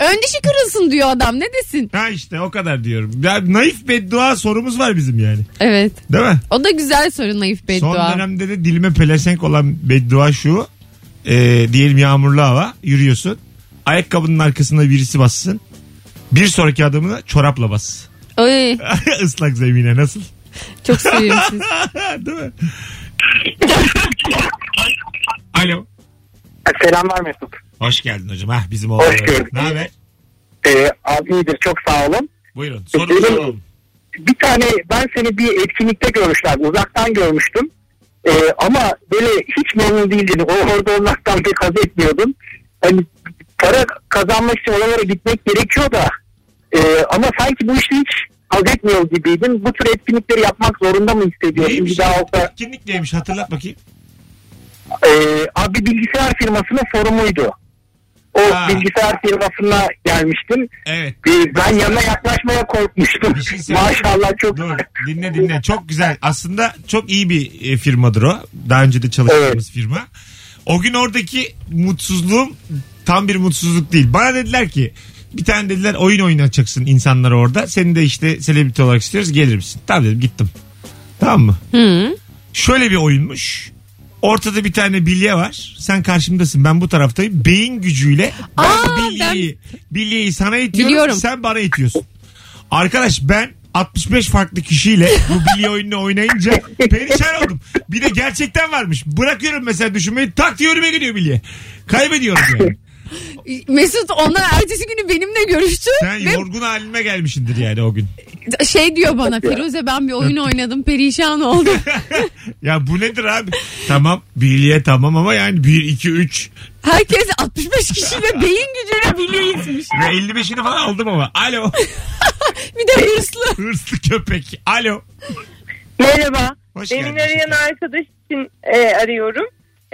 S3: Ön dişi kırılsın diyor adam. Ne desin?
S2: Ha işte o kadar diyorum. Ya, naif beddua sorumuz var bizim yani.
S3: Evet.
S2: Değil mi?
S3: O da güzel soru naif beddua.
S2: Son dönemde de dilime pelesenk olan beddua şu. Ee, diyelim yağmurlu hava yürüyorsun. Ayakkabının arkasına birisi bassın. Bir sonraki adamına çorapla bas.
S3: Ay,
S2: Islak zemine nasıl?
S3: çok sevimsiz.
S2: Değil mi? Alo.
S5: Selamlar Mesut.
S2: Hoş geldin hocam. Ah bizim oğlan.
S5: Hoş gördük.
S2: Ne haber?
S5: Ee, abi iyidir çok sağ olun.
S2: Buyurun. Sorun
S5: Benim-
S2: sorun.
S5: Bir tane ben seni bir etkinlikte görmüşler uzaktan görmüştüm. Ee, ama böyle hiç memnun değildin. O orada olmaktan pek haz etmiyordun. Hani para kazanmak için oralara gitmek gerekiyor da. e, ama sanki bu işi hiç haz etmiyor gibiydin. Bu tür etkinlikleri yapmak zorunda mı hissediyorsun?
S2: Neymiş?
S5: Bir daha olsa
S2: Etkinlik neymiş? Hatırlat bakayım.
S5: Ee, abi bilgisayar firmasının sorumluydu. O
S2: Ha.
S5: bilgisayar firmasına gelmiştim.
S2: Evet.
S5: Ee, ben yanına yaklaşmaya korkmuştum.
S2: Bir şey söyleyeyim.
S5: Maşallah çok.
S2: Dur dinle dinle çok güzel. Aslında çok iyi bir e, firmadır o. Daha önce de çalıştığımız
S5: Evet.
S2: firma. O gün oradaki mutsuzluğum tam bir mutsuzluk değil. Bana dediler ki bir tane dediler oyun oynatacaksın insanlara orada. Seni de işte selebriti olarak istiyoruz gelir misin? Tamam dedim gittim. Tamam mı? Şöyle bir oyunmuş. Ortada bir tane bilye var. Sen karşımdasın ben bu taraftayım. Beyin gücüyle ben
S3: Aa,
S2: bilyeyi, bilyeyi sana itiyorum.
S3: Biliyorum.
S2: Sen bana itiyorsun. Arkadaş ben 65 farklı kişiyle bu bilye oyununu oynayınca perişan oldum. Bir de gerçekten varmış. Bırakıyorum mesela düşünmeyi tak diye önüme geliyor bilye. Kaybediyorum yani.
S3: Mesut ondan ertesi günü benimle görüştü.
S2: Sen
S3: ve
S2: yorgun haline gelmişsindir yani o gün.
S3: şey diyor bana Firuze ben bir oyun oynadım perişan oldum.
S2: Ya bu nedir abi? tamam bilye tamam ama yani 1, 2, 3
S3: Herkes 65 kişiyle beyin gücüyle bile itmiş.
S2: ve 55'ini falan aldım ama. Alo.
S3: Bir de hırslı.
S2: Hırslı köpek. Alo.
S7: Merhaba.
S2: Hoş
S7: Demin
S2: geldin.
S7: arayan arkadaş için e, arıyorum.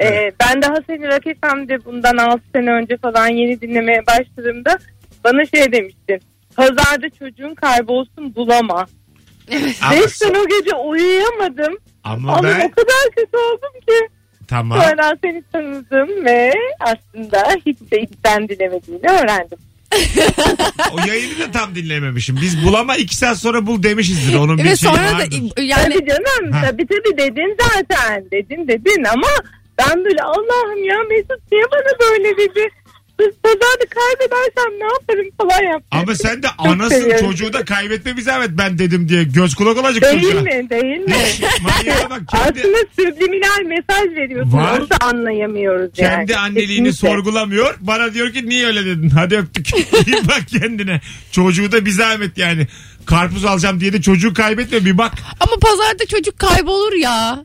S7: E, Ben daha seni rakipem de bundan 6 sene önce falan yeni dinlemeye başladığımda bana şey demişti. Pazarda çocuğun kaybolsun bulama.
S2: Ama,
S7: 5 sene o gece uyuyamadım.
S2: ama
S7: Ama
S2: ben
S7: o kadar kötü oldum ki.
S2: tamam.
S7: Sonra seni tanıdım ve aslında hiç de içten dilemediğini öğrendim.
S2: O yayını da tam dinlememişim. Biz bulama iki saat sonra bul demişizdir. Onun bir şeyi
S3: Ve sonra
S2: vardır.
S3: da yani
S7: Tabii canım
S2: Ha.
S7: tabii tabii dedin zaten dedin dedin ama ben böyle Allah'ım ya Mesut niye bana böyle dedi. Kız pazarda kaybedersem ne yaparım falan yaptım.
S2: Ama sen de
S7: Çok
S2: anasın
S7: seviyorum.
S2: çocuğu da kaybetme bir zahmet ben dedim diye göz kulak olacak
S7: Değil
S2: çocuğa.
S7: mi değil mi?
S2: Manyağa bak kendi,
S7: Aslında subliminal mesaj veriyorsun.
S2: Var.
S7: Onu da anlayamıyoruz yani.
S2: kendi anneliğini
S7: Kesinlikle.
S2: sorgulamıyor. Bana diyor ki niye öyle dedin hadi öptük. bir bak kendine. Çocuğu da bir zahmet yani. Karpuz alacağım diye de çocuğu kaybetme bir bak.
S3: ama pazarda çocuk kaybolur ya.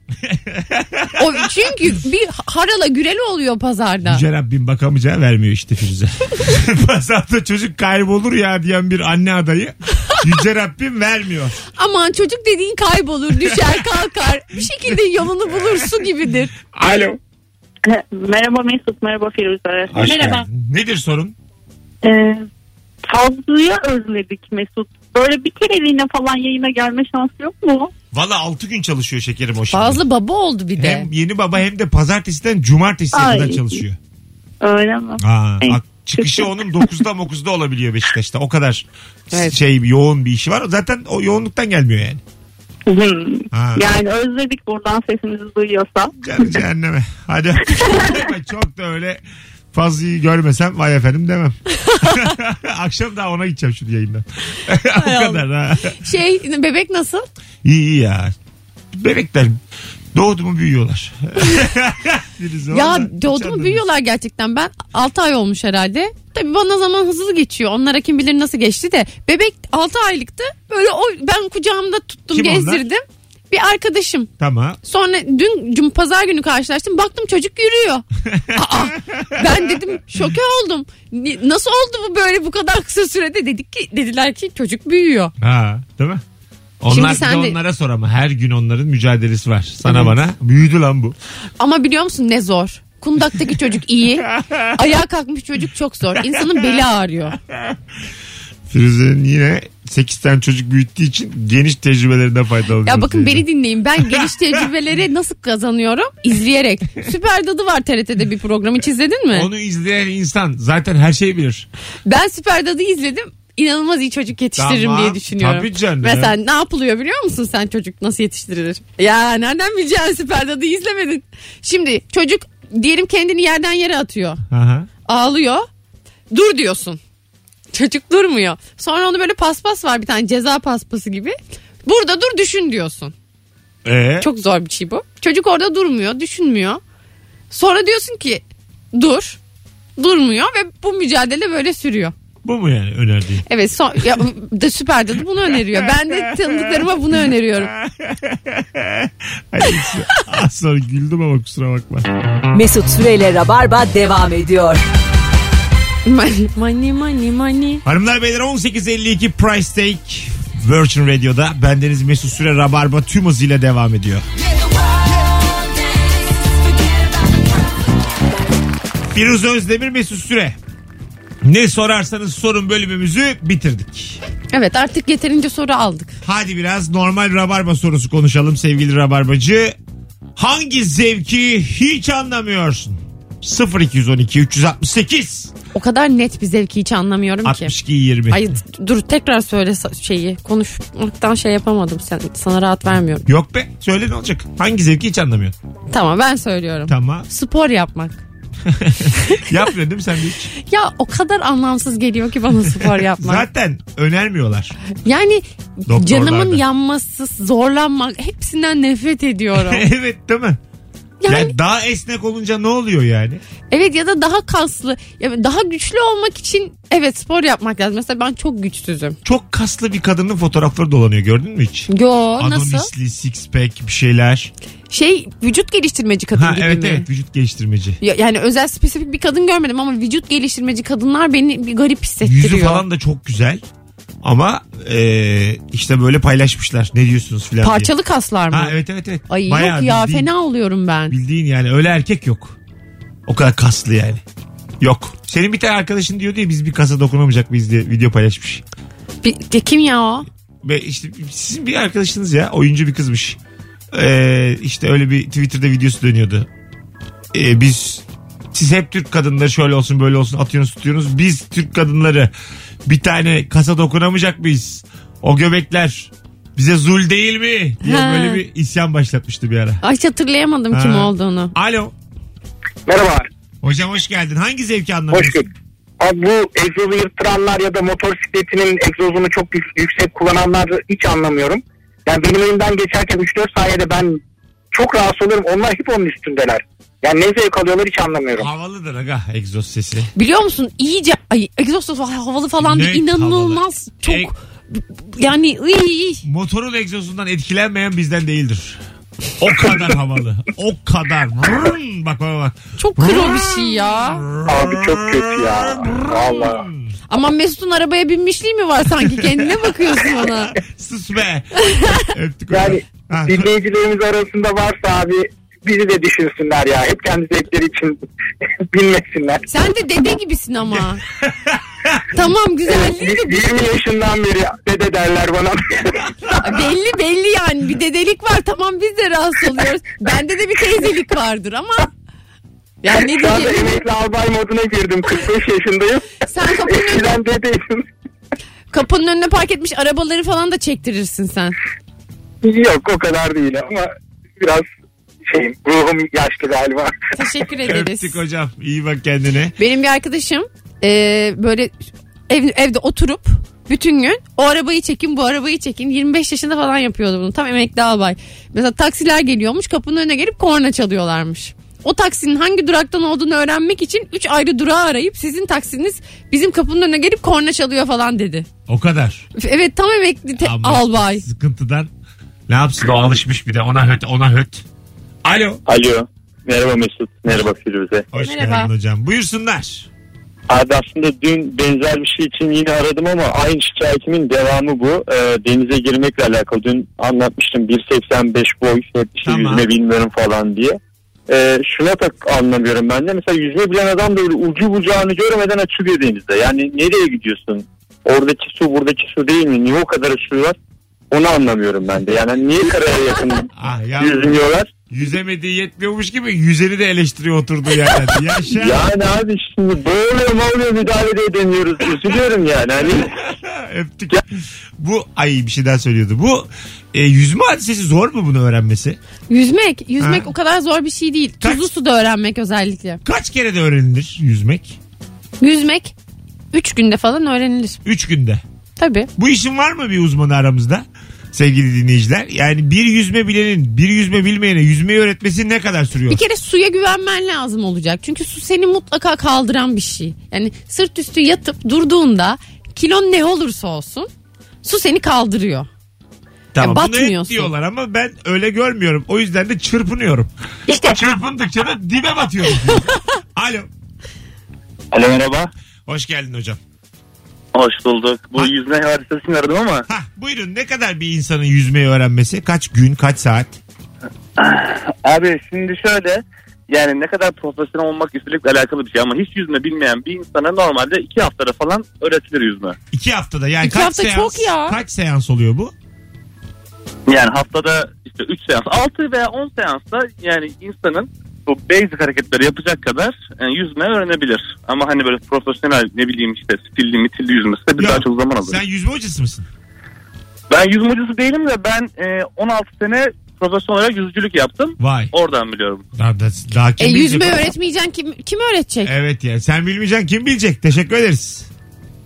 S3: o çünkü bir harala güreli oluyor pazarda.
S2: Yüce Rabbim bakamayacağı vermiyor işte Firuze. Pazarda çocuk kaybolur ya diyen bir anne adayı Yüce Rabbim vermiyor.
S3: Aman çocuk dediğin kaybolur, düşer, kalkar. Bir şekilde yolunu bulur su gibidir.
S2: Alo.
S7: Merhaba Mesut, merhaba Firuze.
S2: Nedir sorun?
S7: Ee, Fazlı'yı özledik Mesut. Böyle bir kereliğine falan yayına gelme şansı yok mu?
S2: Valla 6 gün çalışıyor şekerim o şimdi.
S3: Fazla baba oldu bir de.
S2: Hem yeni baba hem de pazartesiden cumartesiye
S7: Ay.
S2: kadar çalışıyor.
S7: Öyle mi?
S2: Aa,
S7: Ay.
S2: ak- çıkışı onun 9'da 9'da olabiliyor Beşiktaş'ta. O kadar
S3: Evet.
S2: şey yoğun bir işi var. Zaten o yoğunluktan gelmiyor yani.
S7: Hmm.
S2: Ha.
S7: Yani özledik buradan sesimizi duyuyorsa.
S2: Canı cehenneme. Hadi. Ama Çok da öyle fazlayı görmesem vay efendim demem. Akşam daha ona gideceğim şu yayından. o
S3: Hay Allah.
S2: kadar ha.
S3: Şey bebek nasıl?
S2: İyi iyi ya. Bebekler doğdu mu büyüyorlar. Birisi
S3: ya
S2: orada,
S3: doğdu
S2: içeride
S3: mu büyüyorlar gerçekten. Ben 6 ay olmuş herhalde. Tabii bana zaman hızlı geçiyor. Onlara kim bilir nasıl geçti de. Bebek 6 aylıktı. Böyle o, ben kucağımda tuttum
S2: Kim onlar?
S3: gezdirdim. Bir arkadaşım.
S2: birisi. Tamam.
S3: Sonra dün cum pazar günü karşılaştım. Baktım çocuk yürüyor. Aa, ben dedim şoke oldum. Ni- Nasıl oldu bu böyle bu kadar kısa sürede? Dedik ki dediler ki çocuk büyüyor.
S2: Ha, değil mi? Onlar
S3: Şimdi sen
S2: bir de
S3: de-
S2: onlara sor ama her gün onların mücadelesi var. Sana
S3: Evet.
S2: bana büyüdü lan bu.
S3: Ama biliyor musun ne zor? Kundaktaki çocuk iyi. Ayağa kalkmış çocuk çok zor. İnsanın beli ağrıyor.
S2: Firuze'nin yine 8 tane çocuk büyüttüğü için geniş tecrübelerine faydalanıyor.
S3: Ya bakın beni dinleyin. Ben geniş tecrübeleri nasıl kazanıyorum? İzleyerek. Süper Dadı var TRT'de bir program. Hiç izledin mi?
S2: Onu izleyen insan zaten her şeyi bilir.
S3: Ben Süper Dadı izledim. İnanılmaz iyi çocuk yetiştiririm
S2: Tamam.
S3: diye düşünüyorum.
S2: Tabii canım.
S3: Mesela ne yapılıyor biliyor musun sen çocuk nasıl yetiştirilir? Ya nereden bileceksin Süper Dadı izlemedin. Şimdi çocuk diyelim kendini yerden yere atıyor.
S2: Aha.
S3: ağlıyor. Dur diyorsun. Çocuk durmuyor. Sonra onu böyle paspas var bir tane ceza paspası gibi. Burada dur düşün diyorsun.
S2: Ee,
S3: Çok zor bir şey bu. Çocuk orada durmuyor, düşünmüyor. Sonra diyorsun ki dur. Durmuyor ve bu mücadele böyle sürüyor.
S2: Bu mu yani önerdiğin?
S3: Evet son, ya, de süper dedi bunu öneriyor. Ben de tanıdıklarıma bunu öneriyorum.
S2: Ay, az sonra güldüm ama kusura bakma.
S1: Mesut Süreyle Rabarba devam ediyor.
S3: Money money money money.
S2: Hanımlar beyler 18.52 Price Take Virgin Radio'da bendeniz Mesut Süre Rabarba tüm hızıyla devam ediyor. Firuze Özdemir Mesut Süre. Ne sorarsanız sorun bölümümüzü bitirdik.
S3: Evet artık yeterince soru aldık.
S2: Hadi biraz normal rabarba sorusu konuşalım sevgili rabarbacı. Hangi zevki hiç anlamıyorsun? 0212 368
S3: O kadar net bir zevki hiç anlamıyorum ki.
S2: 62 20.
S3: Ay d- dur tekrar söyle sa- şeyi. Konuşmaktan şey yapamadım sen. Sana rahat vermiyorum.
S2: Yok be söyle ne olacak? Hangi zevki hiç anlamıyorsun?
S3: Tamam ben söylüyorum.
S2: Tamam.
S3: Spor yapmak.
S2: Yapmıyor değil mi sen de hiç?
S3: Ya o kadar anlamsız geliyor ki bana spor yapmak.
S2: Zaten önermiyorlar.
S3: Yani
S2: Doktorlar
S3: canımın
S2: da.
S3: yanması, zorlanmak hepsinden nefret ediyorum.
S2: evet değil mi? Yani...
S3: Yani-
S2: daha esnek olunca ne oluyor yani?
S3: evet ya da daha kaslı, ya daha güçlü olmak için evet spor yapmak lazım. Mesela ben çok güçsüzüm.
S2: Çok kaslı bir kadının fotoğrafları dolanıyor gördün mü hiç?
S3: Yo nasıl?
S2: Adonisli, six pack bir şeyler.
S3: Şey vücut geliştirmeci kadın
S2: Ha,
S3: gibi
S2: evet
S3: mi?
S2: evet vücut geliştirmeci.
S3: Ya- Yani özel spesifik bir kadın görmedim ama vücut geliştirmeci kadınlar beni bir garip hissettiriyor.
S2: Yüzü falan da çok güzel. Ama e, işte böyle paylaşmışlar. Ne diyorsunuz filan diye.
S3: Parçalı kaslar mı?
S2: Ha evet evet evet.
S3: Ay
S2: Bayağı
S3: yok ya
S2: bildiğin,
S3: fena oluyorum ben.
S2: Bildiğin yani öyle erkek yok. O kadar kaslı yani. Yok. Senin bir tane arkadaşın diyor diye biz bir kasa dokunamayacak mıyız diye video paylaşmış.
S3: Bir- de kim ya o?
S2: Ve işte sizin bir arkadaşınız ya oyuncu bir kızmış. Ee, işte öyle bir Twitter'da videosu dönüyordu. Ee, biz siz hep Türk kadınları şöyle olsun böyle olsun atıyorsunuz tutuyorsunuz. Biz Türk kadınları bir tane kasa dokunamayacak mıyız? O göbekler bize zul değil mi? diye
S3: Ha.
S2: böyle bir isyan başlatmıştı bir ara.
S3: Ay hiç hatırlayamadım
S2: Ha.
S3: kim olduğunu.
S2: Alo.
S4: Merhaba.
S2: Hocam hoş geldin. Hangi zevki anlamıyorsun?
S4: Hoş bulduk. Abi bu egzozu yırttıranlar ya da motosikletinin egzozunu çok yük- yüksek kullananlar hiç anlamıyorum. Yani benim önümden geçerken 3-4 saniyede ben çok rahatsız olurum. Onlar hep onun üstündeler. Yani ne zevk alıyorlar hiç anlamıyorum.
S2: Havalıdır aga egzoz sesi.
S3: Biliyor musun iyice ay egzoz havalı falan
S2: Ne E-
S3: değil inanılmaz çok
S2: Ek-
S3: yani iy, iy.
S2: motorun egzozundan etkilenmeyen bizden değildir. O kadar havalı. O kadar. Vrrm. Bak bak bak.
S3: çok kro bir şey ya.
S4: Abi çok kötü ya. Valla.
S3: Ama Mesut'un arabaya binmişliği mi var sanki kendine bakıyorsun ona.
S2: Sus be. Öptük
S4: Yani
S2: Ha,
S4: dinleyicilerimiz arasında varsa abi bizi de düşünsünler ya. Hep kendi zevkleri için bilmesinler.
S3: Sen de dede gibisin ama. tamam güzelliği de
S4: 20 yaşından beri dede derler bana.
S3: belli belli yani bir dedelik var tamam biz de rahatsız oluyoruz. Bende de bir teyzelik vardır ama. Yani ne
S4: Şu anda
S3: diyeceğim
S4: emekli albay moduna girdim. 45 yaşındayım.
S3: sen kapının önüne
S4: Eskiden dedeydim.
S3: Kapının önüne park etmiş arabaları falan da çektirirsin sen.
S4: Yok o kadar değil ama biraz şeyim ruhum yaşlı galiba.
S3: Teşekkür ederiz.
S2: Öptük hocam. İyi bak kendine.
S3: Benim bir arkadaşım e, böyle ev, evde oturup bütün gün o arabayı çekin bu arabayı çekin 25 yaşında falan yapıyordu bunu tam emekli albay. Mesela taksiler geliyormuş kapının önüne gelip korna çalıyorlarmış. O taksinin hangi duraktan olduğunu öğrenmek için 3 ayrı durağı arayıp sizin taksiniz bizim kapının önüne gelip korna çalıyor falan dedi.
S2: O kadar.
S3: Evet tam emekli te-
S2: Ama
S3: albay.
S2: Sıkıntıdan ne yapsın? O alışmış bir de ona höt ona höt. Alo.
S9: Alo. Merhaba Mesut. Merhaba Firuze.
S2: Hoş
S3: Merhaba.
S2: geldin hocam. Buyursunlar.
S9: Abi aslında dün benzer bir şey için yine aradım ama aynı şikayetimin devamı bu. Ee, denize girmekle alakalı. Dün anlatmıştım 1.85 boy, hep işte
S2: Tamam.
S9: yüzme bilmiyorum falan diye. Ee, şuna tak anlamıyorum ben de. Mesela yüzme bilen adam da öyle ucu bucağını görmeden açılıyor denizde. Yani nereye gidiyorsun?
S8: Oradaki su buradaki su değil mi? Niye o kadar açıyorlar? Onu anlamıyorum ben de. Yani niye karaya yakın
S2: Ah ya
S8: yüzmüyorlar?
S2: yüzemediği yetmiyormuş gibi yüzeni de eleştiriyor oturduğu yerden. Yaşa.
S8: Yani abi şimdi boğuluyor boğuluyor müdahale de edemiyoruz. Üzülüyorum yani. Hani
S2: Öptük. Bu ay bir şey daha söylüyordu. Bu e, yüzme hadisesi zor mu bunu öğrenmesi?
S3: Yüzmek. Yüzmek
S2: Ha.
S3: o kadar zor bir şey değil.
S2: Kaç-
S3: Tuzlu suda öğrenmek özellikle.
S2: Kaç kere de öğrenilir yüzmek?
S3: Yüzmek 3 günde falan öğrenilir.
S2: Üç günde.
S3: Tabii.
S2: Bu işin var mı bir uzmanı aramızda? Sevgili dinleyiciler. Yani bir yüzme bilenin bir yüzme bilmeyene yüzmeyi öğretmesi ne kadar sürüyor?
S3: Bir kere suya güvenmen lazım olacak. Çünkü su seni mutlaka kaldıran bir şey. Yani sırt üstü yatıp durduğunda kilon ne olursa olsun su seni kaldırıyor.
S2: bunu hep
S3: batmıyorsun.
S2: diyorlar ama ben öyle görmüyorum. O yüzden de çırpınıyorum. İşte. Çırpındıkça da dibe batıyorum. Alo.
S8: Alo merhaba.
S2: Hoş geldin hocam.
S8: Hoş bulduk.
S2: Ha.
S8: Bu yüzme hadisesini aradım ama
S2: Hah buyurun ne kadar bir insanın yüzmeyi öğrenmesi? Kaç gün, kaç saat?
S6: Abi şimdi şöyle yani ne kadar profesyonel olmak üstelikle alakalı bir şey ama hiç yüzme bilmeyen bir insana normalde iki haftada falan öğretilir yüzme.
S2: İki haftada yani
S3: İki
S2: kaç
S3: hafta
S2: seans?
S3: çok ya.
S2: Kaç seans oluyor bu?
S6: Yani haftada işte 3 seans, 6 veya 10 seansta yani insanın bu basic hareketleri yapacak kadar yani yüzme öğrenebilir. Ama hani böyle profesyonel ne bileyim işte stilli mitilli yüzmesi de bir
S2: Yok.
S6: daha çok zaman alır.
S2: Sen yüzme hocası mısın?
S6: Ben yüzme hocası değilim de ben e, 16 sene profesyonel olarak yüzücülük yaptım.
S2: Vay.
S6: Oradan biliyorum.
S2: Daha, da, daha
S3: E,
S2: kim bilecek
S3: yüzme
S2: onu?
S3: öğretmeyeceksin kim, kim öğretecek?
S2: Evet ya sen bilmeyeceksin kim bilecek? Teşekkür ederiz.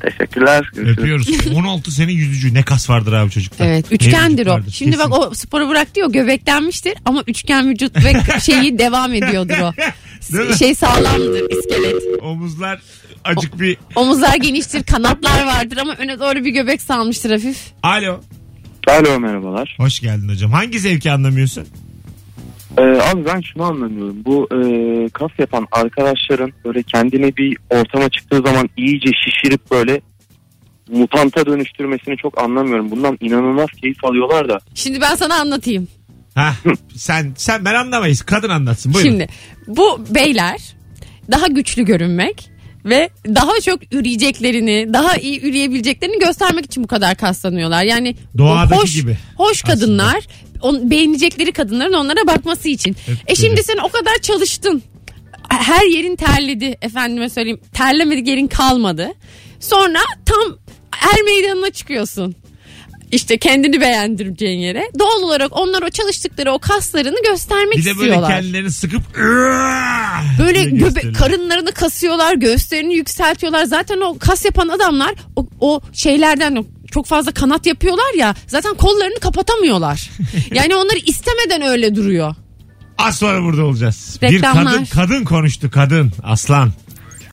S6: Teşekkürler. Görüşürüz.
S2: Öpüyoruz. 16 senin yüzücü ne kas vardır abi çocukta.
S3: Evet
S2: Ne
S3: üçgendir
S2: vücut
S3: o.
S2: vardır.
S3: Şimdi
S2: Kesin.
S3: bak o sporu bıraktı ya o göbeklenmiştir ama üçgen vücut ve şeyi devam ediyordur o.
S2: Değil mi?
S3: Şey sağlamdır iskelet.
S2: Omuzlar acık bir...
S3: Omuzlar geniştir kanatlar vardır ama öne doğru bir göbek salmıştır hafif.
S2: Alo.
S5: Alo merhabalar.
S2: Hoş geldin hocam. Hangi zevki anlamıyorsun?
S5: Ee, abi ben şunu anlamıyorum. Bu e, kas yapan arkadaşların böyle kendine bir ortama çıktığı zaman iyice şişirip böyle mutanta dönüştürmesini çok anlamıyorum. Bundan inanılmaz keyif alıyorlar da.
S3: Şimdi ben sana anlatayım.
S2: Ha sen sen ben anlamayız. Kadın anlatsın. Buyurun.
S3: Şimdi bu beyler daha güçlü görünmek ve daha çok üreyeceklerini, daha iyi üreyebileceklerini göstermek için bu kadar kaslanıyorlar. Yani
S2: Doğadaki
S3: hoş,
S2: gibi
S3: hoş
S2: aslında.
S3: kadınlar, on, beğenecekleri kadınların onlara bakması için.
S2: Evet,
S3: e şimdi
S2: öyle.
S3: sen o kadar çalıştın. Her yerin terledi efendime söyleyeyim. Terlemedi yerin kalmadı. Sonra tam er meydanına çıkıyorsun. İşte kendini beğendireceğin yere. Doğal olarak onlar o çalıştıkları o kaslarını göstermek
S2: Bir de böyle
S3: istiyorlar.
S2: kendilerini sıkıp "Aaah!"
S3: Böyle
S2: diye
S3: göbe-
S2: gösteriyor.
S3: karınlarını kasıyorlar, göğüslerini yükseltiyorlar. Zaten o kas yapan adamlar o, o şeylerden o çok fazla kanat yapıyorlar ya. Zaten kollarını kapatamıyorlar. yani onları istemeden öyle duruyor.
S2: Az sonra burada olacağız. Bir
S3: Reklamlar.
S2: kadın kadın konuştu kadın aslan.